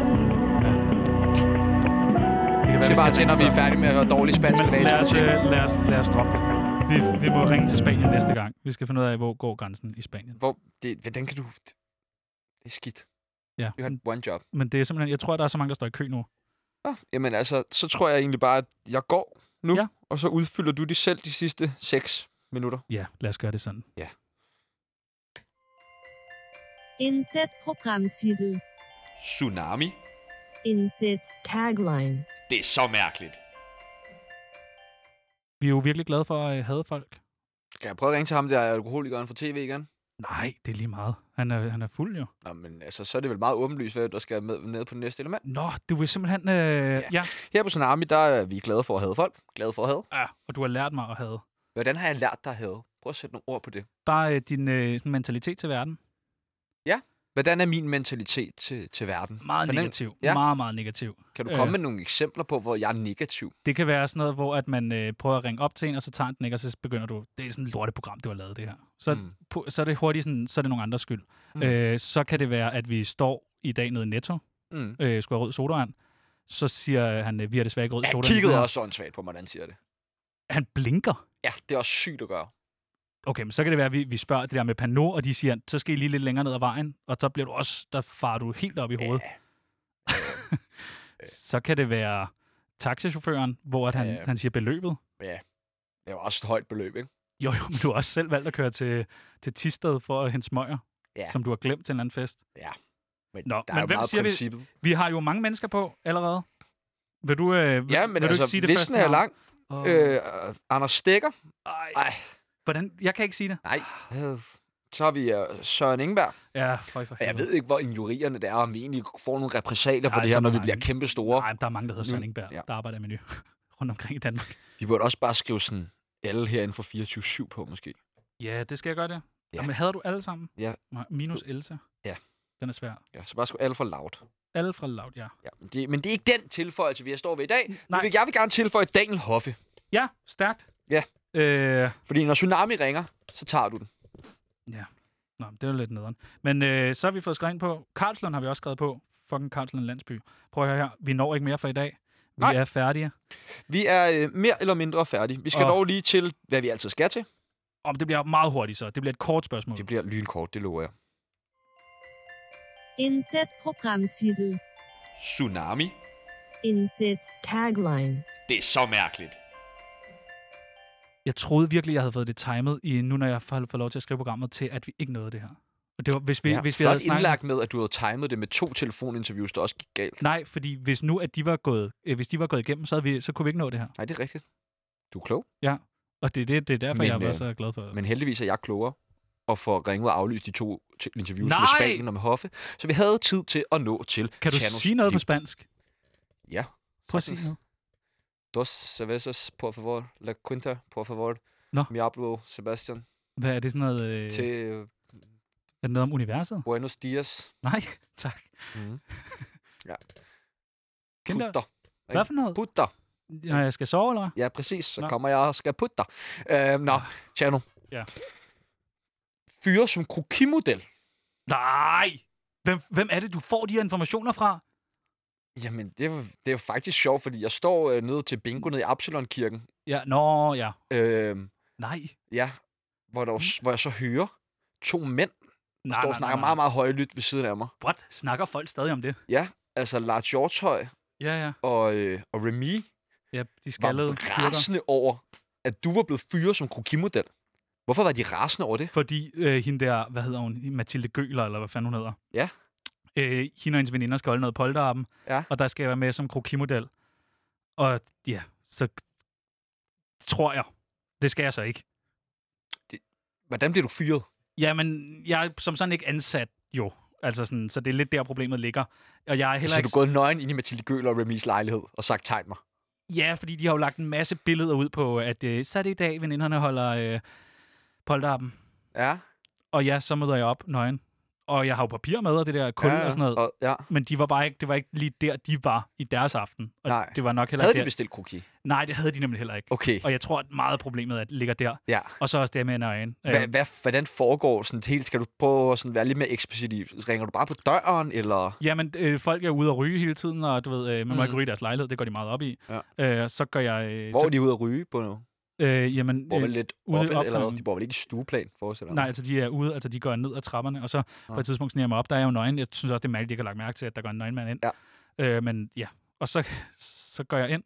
[SPEAKER 1] være, vi
[SPEAKER 3] siger bare
[SPEAKER 1] skal
[SPEAKER 3] til, når vi er færdige med at høre dårlig spansk
[SPEAKER 1] Men lad os, øh,
[SPEAKER 3] latinmusik.
[SPEAKER 1] lad, os, lad os droppe det. Vi, vi må ringe til Spanien næste gang. Vi skal finde ud af, hvor går grænsen i Spanien.
[SPEAKER 3] Hvor, det, hvordan kan du... Det er skidt.
[SPEAKER 1] Ja.
[SPEAKER 3] You had one job.
[SPEAKER 1] Men det er simpelthen, jeg tror, der er så mange, der står i kø nu.
[SPEAKER 3] Ah, jamen altså, så tror jeg egentlig bare, at jeg går nu,
[SPEAKER 1] Ja.
[SPEAKER 3] ja. og så udfylder du de selv de sidste 6 minutter.
[SPEAKER 1] Ja, lad os gøre det sådan.
[SPEAKER 4] Inset programtitel.
[SPEAKER 5] Tsunami.
[SPEAKER 4] Inset tagline.
[SPEAKER 5] Det er så mærkeligt.
[SPEAKER 1] Vi er jo virkelig glade for at øh, have folk.
[SPEAKER 3] Kan jeg prøve at ringe til ham, der er alkoholikeren fra tv igen?
[SPEAKER 1] Nej, det er lige meget. Han er, han er fuld jo.
[SPEAKER 3] Nå, men altså, så er det vel meget åbenlyst, hvad der skal med ned på det næste element.
[SPEAKER 1] Nå, du vil simpelthen... Øh, ja.
[SPEAKER 3] Her på Tsunami, der er vi glade for at have folk. Glade for at have.
[SPEAKER 1] ja. Ah, Og du har lært mig at have
[SPEAKER 3] Hvordan har jeg lært dig at have? Prøv at sætte nogle ord på det.
[SPEAKER 1] bare øh, din øh, sådan mentalitet til verden.
[SPEAKER 3] Hvordan er min mentalitet til, til verden?
[SPEAKER 1] Meget
[SPEAKER 3] Hvordan,
[SPEAKER 1] negativ.
[SPEAKER 3] Ja.
[SPEAKER 1] Meget, meget negativ.
[SPEAKER 3] Kan du
[SPEAKER 1] Øh.
[SPEAKER 3] komme med nogle eksempler på, hvor jeg er negativ?
[SPEAKER 1] Det kan være sådan noget, hvor at man øh, prøver at ringe op til en, og så tager den ikke, og så begynder du, det er sådan et lorteprogram, du har lavet det her. Så, mm.
[SPEAKER 3] Mm.
[SPEAKER 1] på, så er det hurtigt sådan, så er det nogle andres skyld. Mm.
[SPEAKER 3] Mm.
[SPEAKER 1] Øh, så kan det være, at vi står i dag nede i Netto,
[SPEAKER 3] Mm.
[SPEAKER 1] øh, skulle have rød sodavand, så siger han, øh, vi har desværre ikke rød
[SPEAKER 3] Jeg
[SPEAKER 1] sodavand.
[SPEAKER 3] kiggede
[SPEAKER 1] mere.
[SPEAKER 3] også åndssvagt på mig, hvordan siger det.
[SPEAKER 1] Han blinker.
[SPEAKER 3] Ja, det er også sygt at gøre.
[SPEAKER 1] Okay, men så kan det være, at vi, vi spørger det der med Pano, og de siger, så skal I lige lidt længere ned ad vejen, og så bliver du også, der farer du helt op i hovedet. så kan det være taxachaufføren, hvor at han,
[SPEAKER 3] Ja.
[SPEAKER 1] han siger beløbet.
[SPEAKER 3] Det er jo også et højt beløb, ikke?
[SPEAKER 1] Jo, jo, men du har også selv valgt at køre til, til Tisted for at hente smøger, ja.
[SPEAKER 3] Ja.
[SPEAKER 1] som du har glemt til en anden fest.
[SPEAKER 3] Men
[SPEAKER 1] Nå,
[SPEAKER 3] der
[SPEAKER 1] men
[SPEAKER 3] er jo
[SPEAKER 1] hvem
[SPEAKER 3] meget
[SPEAKER 1] siger vi-
[SPEAKER 3] princippet.
[SPEAKER 1] Vi har jo mange mennesker på allerede. Vil du, øh, vil,
[SPEAKER 3] Ja, men
[SPEAKER 1] vil du
[SPEAKER 3] altså,
[SPEAKER 1] ikke sige det
[SPEAKER 3] listen
[SPEAKER 1] første
[SPEAKER 3] er lang.
[SPEAKER 1] Og, øh,
[SPEAKER 3] Øh, Anders Stikker.
[SPEAKER 1] ej,
[SPEAKER 3] Ej,
[SPEAKER 1] hvordan? Jeg kan ikke sige det.
[SPEAKER 3] nej. Øh, Så har vi øh, Søren Ingberg. Hmm.
[SPEAKER 1] Ja, for, for
[SPEAKER 3] Og Jeg ved ikke, hvor injurierne det er, om vi egentlig får nogle repressalier for
[SPEAKER 1] Nej,
[SPEAKER 3] det her,
[SPEAKER 1] så
[SPEAKER 3] når vi
[SPEAKER 1] mange.
[SPEAKER 3] bliver kæmpe store.
[SPEAKER 1] Nej, men der er mange, der hedder
[SPEAKER 3] Nu-
[SPEAKER 1] Søren Ingberg, ja.
[SPEAKER 3] ja.
[SPEAKER 1] der arbejder i menu rundt omkring i Danmark.
[SPEAKER 3] Vi burde også bare skrive sådan alle herinde fra 24-7 på, måske.
[SPEAKER 1] Ja, det skal jeg gøre det. Ja.
[SPEAKER 3] Ja.
[SPEAKER 1] Jamen, havde du alle sammen?
[SPEAKER 3] Ja.
[SPEAKER 1] Nej, Minus Elsa.
[SPEAKER 3] Ja.
[SPEAKER 1] Den er svær.
[SPEAKER 3] Ja, så bare skrive alle for loud.
[SPEAKER 1] Alle fra Loud, ja.
[SPEAKER 3] Ja, men, det, men det er ikke den tilføjelse, vi står ved i dag. Nej.
[SPEAKER 1] Nej.
[SPEAKER 3] Vil, jeg vil gerne tilføje Daniel Hoffe.
[SPEAKER 1] Ja, stærkt.
[SPEAKER 3] Ja.
[SPEAKER 1] Øh,
[SPEAKER 3] Fordi når Tsunami ringer, så tager du den.
[SPEAKER 1] nå, men det er jo lidt nederen. Men øh, så har vi fået skrevet ind på. Karlslund har vi også skrevet på. Fucking Karlslund Landsby. Prøv at høre her. Vi når ikke mere for i dag. Vi
[SPEAKER 3] Nej.
[SPEAKER 1] er færdige.
[SPEAKER 3] Vi er øh, mere eller mindre færdige. Vi skal
[SPEAKER 1] Åh.
[SPEAKER 3] dog lige til, hvad vi altid skal til.
[SPEAKER 1] Om det bliver meget hurtigt så. Det bliver et kort spørgsmål.
[SPEAKER 3] Det bliver lynkort, det lover jeg.
[SPEAKER 4] Inset Programmtitel.
[SPEAKER 5] Tsunami?
[SPEAKER 4] Inset Tagline.
[SPEAKER 5] Det er så mærkeligt.
[SPEAKER 1] Jeg troede virkelig, jeg havde fået det timet, i, nu når jeg får får lov til at skrive programmet, til at vi ikke nåede det her. Og det var, hvis vi,
[SPEAKER 3] ja,
[SPEAKER 1] hvis vi
[SPEAKER 3] flot
[SPEAKER 1] havde snakket...
[SPEAKER 3] indlagt med, at du havde timet det med to telefoninterviews, der også gik galt.
[SPEAKER 1] Nej, fordi hvis nu, at de var gået, øh, hvis de var gået igennem, så, havde vi, så kunne vi ikke nå det her.
[SPEAKER 3] Nej, det er rigtigt. Du er klog,
[SPEAKER 1] Og det, er det, det er derfor,
[SPEAKER 3] Men,
[SPEAKER 1] men, jeg var
[SPEAKER 3] øh,
[SPEAKER 1] så glad for det.
[SPEAKER 3] men heldigvis er jeg klogere og får ringet og aflyst de to t- interviews Nej! med
[SPEAKER 1] Nej!
[SPEAKER 3] Spanien og med Hoffe. Så vi havde tid til at nå til
[SPEAKER 1] Kan du
[SPEAKER 3] Chanos
[SPEAKER 1] sige noget på
[SPEAKER 3] liv.
[SPEAKER 1] spansk?
[SPEAKER 3] Ja.
[SPEAKER 1] Prøv at sige
[SPEAKER 3] Sagtens.
[SPEAKER 1] noget.
[SPEAKER 3] Dos cervezas, por favor. La quinta, por favor.
[SPEAKER 1] Nå.
[SPEAKER 3] Mi hablo Sebastian.
[SPEAKER 1] Hvad er det sådan noget? Øh,
[SPEAKER 3] Til øh,
[SPEAKER 1] er det noget om universet?
[SPEAKER 3] buenos dias.
[SPEAKER 1] Nej, tak.
[SPEAKER 3] Mm. ja.
[SPEAKER 1] Kinder-
[SPEAKER 3] Putter.
[SPEAKER 1] Hvad for noget?
[SPEAKER 3] Putter.
[SPEAKER 1] Når jeg skal sove, eller hvad?
[SPEAKER 3] Ja, præcis. Så
[SPEAKER 1] Nå. Ah.
[SPEAKER 3] kommer jeg og skal putte dig. Øhm, nå, Tjerno.
[SPEAKER 1] Ja.
[SPEAKER 3] Fyre som krokimodel.
[SPEAKER 1] Nej! Hvem, hvem er det, du får de her informationer fra?
[SPEAKER 3] Jamen, det er, jo- det er jo faktisk sjovt, fordi jeg står øh, nede til bingo nede i Absalon-kirken.
[SPEAKER 1] Ja, nå, ja.
[SPEAKER 3] Øhm,
[SPEAKER 1] Nej.
[SPEAKER 3] ja, hvor, der, var- hvor jeg så hører to mænd, der
[SPEAKER 1] Mm. Ah, Nej,
[SPEAKER 3] står og snakker meget, meget højlydt ved siden af mig.
[SPEAKER 1] What? Snakker folk stadig om det?
[SPEAKER 3] Altså, Lars Hjortøj
[SPEAKER 1] Ja, ja.
[SPEAKER 3] og, øh, og Remy
[SPEAKER 1] Ja, de
[SPEAKER 3] var
[SPEAKER 1] skaldede pyrker.
[SPEAKER 3] rasende over, at du var blevet fyret som krokimodel. Hvorfor var de rasende over det?
[SPEAKER 1] Fordi øh, hende der, hvad hedder hun, Mathilde Gøler, eller hvad fanden hun hedder.
[SPEAKER 3] Ja.
[SPEAKER 1] Øh, hende og hendes veninder skal holde noget polterappen.
[SPEAKER 3] Ja.
[SPEAKER 1] Og der skal jeg være med som krokimodel. Og ja, så tror jeg. Det skal jeg så ikke.
[SPEAKER 3] Hvordan blev du fyret?
[SPEAKER 1] Jamen, jeg er som sådan ikke ansat, jo. Altså sådan, så det er lidt der, problemet ligger. Og jeg er heller
[SPEAKER 3] så er
[SPEAKER 1] ikke...
[SPEAKER 3] du gået nøgen ind i Mathilde Gøler og Remys lejlighed og sagt, tegn mig.
[SPEAKER 1] Ja, fordi de har jo lagt en masse billeder ud på, at øh, så er det i dag, veninderne holder øh, polterappen.
[SPEAKER 3] Ja.
[SPEAKER 1] Og ja, så møder jeg op nøgen. Og jeg har jo papir med, og det der kul
[SPEAKER 3] ja, ja.
[SPEAKER 1] og sådan noget.
[SPEAKER 3] Og, ja.
[SPEAKER 1] Men de var bare ikke, det var ikke lige der, de var i deres aften. Og
[SPEAKER 3] Nej.
[SPEAKER 1] det var nok heller
[SPEAKER 3] Havde
[SPEAKER 1] ikke
[SPEAKER 3] de
[SPEAKER 1] der.
[SPEAKER 3] bestilt kroki?
[SPEAKER 1] Nej, det havde de nemlig heller ikke.
[SPEAKER 3] Okay.
[SPEAKER 1] Og jeg tror, at meget af problemet er, ligger der.
[SPEAKER 3] Ja.
[SPEAKER 1] Og så også det med øh, en øjen.
[SPEAKER 3] Hva, hvad, hvordan foregår sådan helt? Skal du prøve at sådan være lidt mere eksplicit? i- Ringer du bare på døren, eller...
[SPEAKER 1] Jamen, øh, folk er ude at ryge hele tiden, og du ved, øh, man må
[SPEAKER 3] Mm.
[SPEAKER 1] ikke ryge i deres lejlighed. Det går de meget op i.
[SPEAKER 3] Ja.
[SPEAKER 1] Øh, så gør jeg... Øh,
[SPEAKER 3] Hvor
[SPEAKER 1] så,
[SPEAKER 3] er de ude at ryge på nu?
[SPEAKER 1] øh, jamen,
[SPEAKER 3] Bor
[SPEAKER 1] øh,
[SPEAKER 3] vel lidt
[SPEAKER 1] ude i
[SPEAKER 3] oppe, eller hvad?
[SPEAKER 1] opgangen.
[SPEAKER 3] De bor vel ikke i stueplan, forestiller jeg
[SPEAKER 1] nej,
[SPEAKER 3] mig.
[SPEAKER 1] altså de er ude, altså de går ned ad trapperne, og så ja. på et tidspunkt sniger jeg mig op. Der er jeg jo nøgen. Jeg synes også, det er mærkeligt, at jeg ikke har lagt mærke til, at der går en nøgenmand ind.
[SPEAKER 3] Ja.
[SPEAKER 1] Øh, men ja, og så, så går jeg ind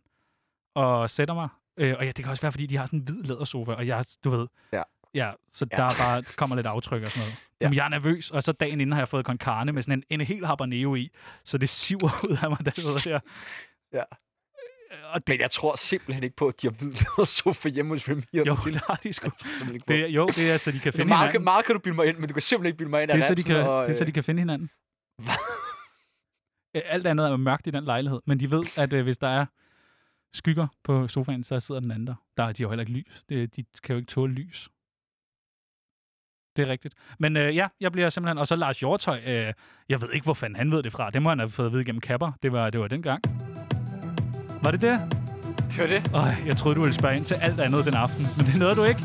[SPEAKER 1] og sætter mig. Øh, og ja, det kan også være, fordi de har sådan en hvid lædersofa, og jeg, du ved,
[SPEAKER 3] Ja.
[SPEAKER 1] ja så
[SPEAKER 3] Ja.
[SPEAKER 1] der er bare kommer lidt aftryk og sådan noget.
[SPEAKER 3] Ja.
[SPEAKER 1] Ja. Jamen, jeg er nervøs, og så dagen inden har jeg fået con carne med sådan en, en hel habanero i, så det siver ud af mig, der sidder der.
[SPEAKER 3] Ja.
[SPEAKER 1] Øh, Og det,
[SPEAKER 3] Men jeg tror simpelthen ikke på, at de har hvidlød sofa hjemme hos Remy. og
[SPEAKER 1] jo,
[SPEAKER 3] Mathilde.
[SPEAKER 1] det har de sgu.
[SPEAKER 3] Jeg tror simpelthen ikke på.
[SPEAKER 1] Det, er- jo, det er, så de kan
[SPEAKER 3] Så
[SPEAKER 1] finde
[SPEAKER 3] Altså, meget, kan-
[SPEAKER 1] hinanden.
[SPEAKER 3] meget kan du bilde mig ind, men du kan simpelthen ikke bilde mig ind, at
[SPEAKER 1] det er, så de
[SPEAKER 3] Ramsen
[SPEAKER 1] kan,
[SPEAKER 3] og,
[SPEAKER 1] det er, så de kan finde hinanden. Øh, Alt andet er mørkt i den lejlighed, men de ved, at øh, hvis der er skygger på sofaen, så sidder den anden der. Der er de har jo heller ikke lys. Det, de kan jo ikke tåle lys. Det er rigtigt. Men øh, ja, jeg bliver simpelthen... Og så Lars Hjortøj. Øh, jeg ved ikke, hvor fanden han ved det fra. Det må han have fået at vide gennem kapper. Det var, det var dengang. Var det det?
[SPEAKER 3] Øh, det var det,
[SPEAKER 1] Øj, jeg troede, du ville spørge ind til alt andet den aften. Men det nåede du ikke.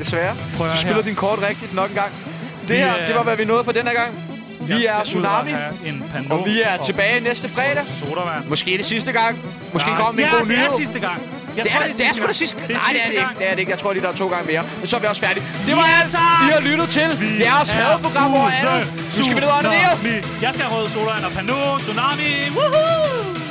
[SPEAKER 3] desværre.
[SPEAKER 1] Prøv at
[SPEAKER 3] Du
[SPEAKER 1] høre
[SPEAKER 3] spiller
[SPEAKER 1] her.
[SPEAKER 3] din kort rigtigt nok en gang. Det
[SPEAKER 1] Vi
[SPEAKER 3] her,
[SPEAKER 1] er-
[SPEAKER 3] det var, hvad vi nåede for den her gang. Vi
[SPEAKER 1] Jeg
[SPEAKER 3] er
[SPEAKER 1] skal ud og
[SPEAKER 3] Tsunami,
[SPEAKER 1] have en
[SPEAKER 3] og
[SPEAKER 1] Pandoro
[SPEAKER 3] vi er tilbage næste fredag.
[SPEAKER 1] Sodavand.
[SPEAKER 3] Måske det sidste gang. Måske kommer en
[SPEAKER 1] ja,
[SPEAKER 3] god
[SPEAKER 1] det
[SPEAKER 3] nyhed.
[SPEAKER 1] er sidste gang. Jeg
[SPEAKER 3] Det er,
[SPEAKER 1] tror,
[SPEAKER 3] det, det er sgu da
[SPEAKER 1] gang.
[SPEAKER 3] sidste
[SPEAKER 1] Det er
[SPEAKER 3] Nej, det er
[SPEAKER 1] sidste
[SPEAKER 3] det ikke.
[SPEAKER 1] gang.
[SPEAKER 3] Det er det ikke. Jeg tror lige, der er to gange mere. Men så er vi også færdige. Det var
[SPEAKER 1] Vi er
[SPEAKER 3] alt.
[SPEAKER 1] tak.
[SPEAKER 3] I har lyttet til jeres hadprogram over andet. Nu skal vi ned og ordne det her.
[SPEAKER 1] Jeg skal have røde sodavand og Pandoro, Tsunami. Woohoo!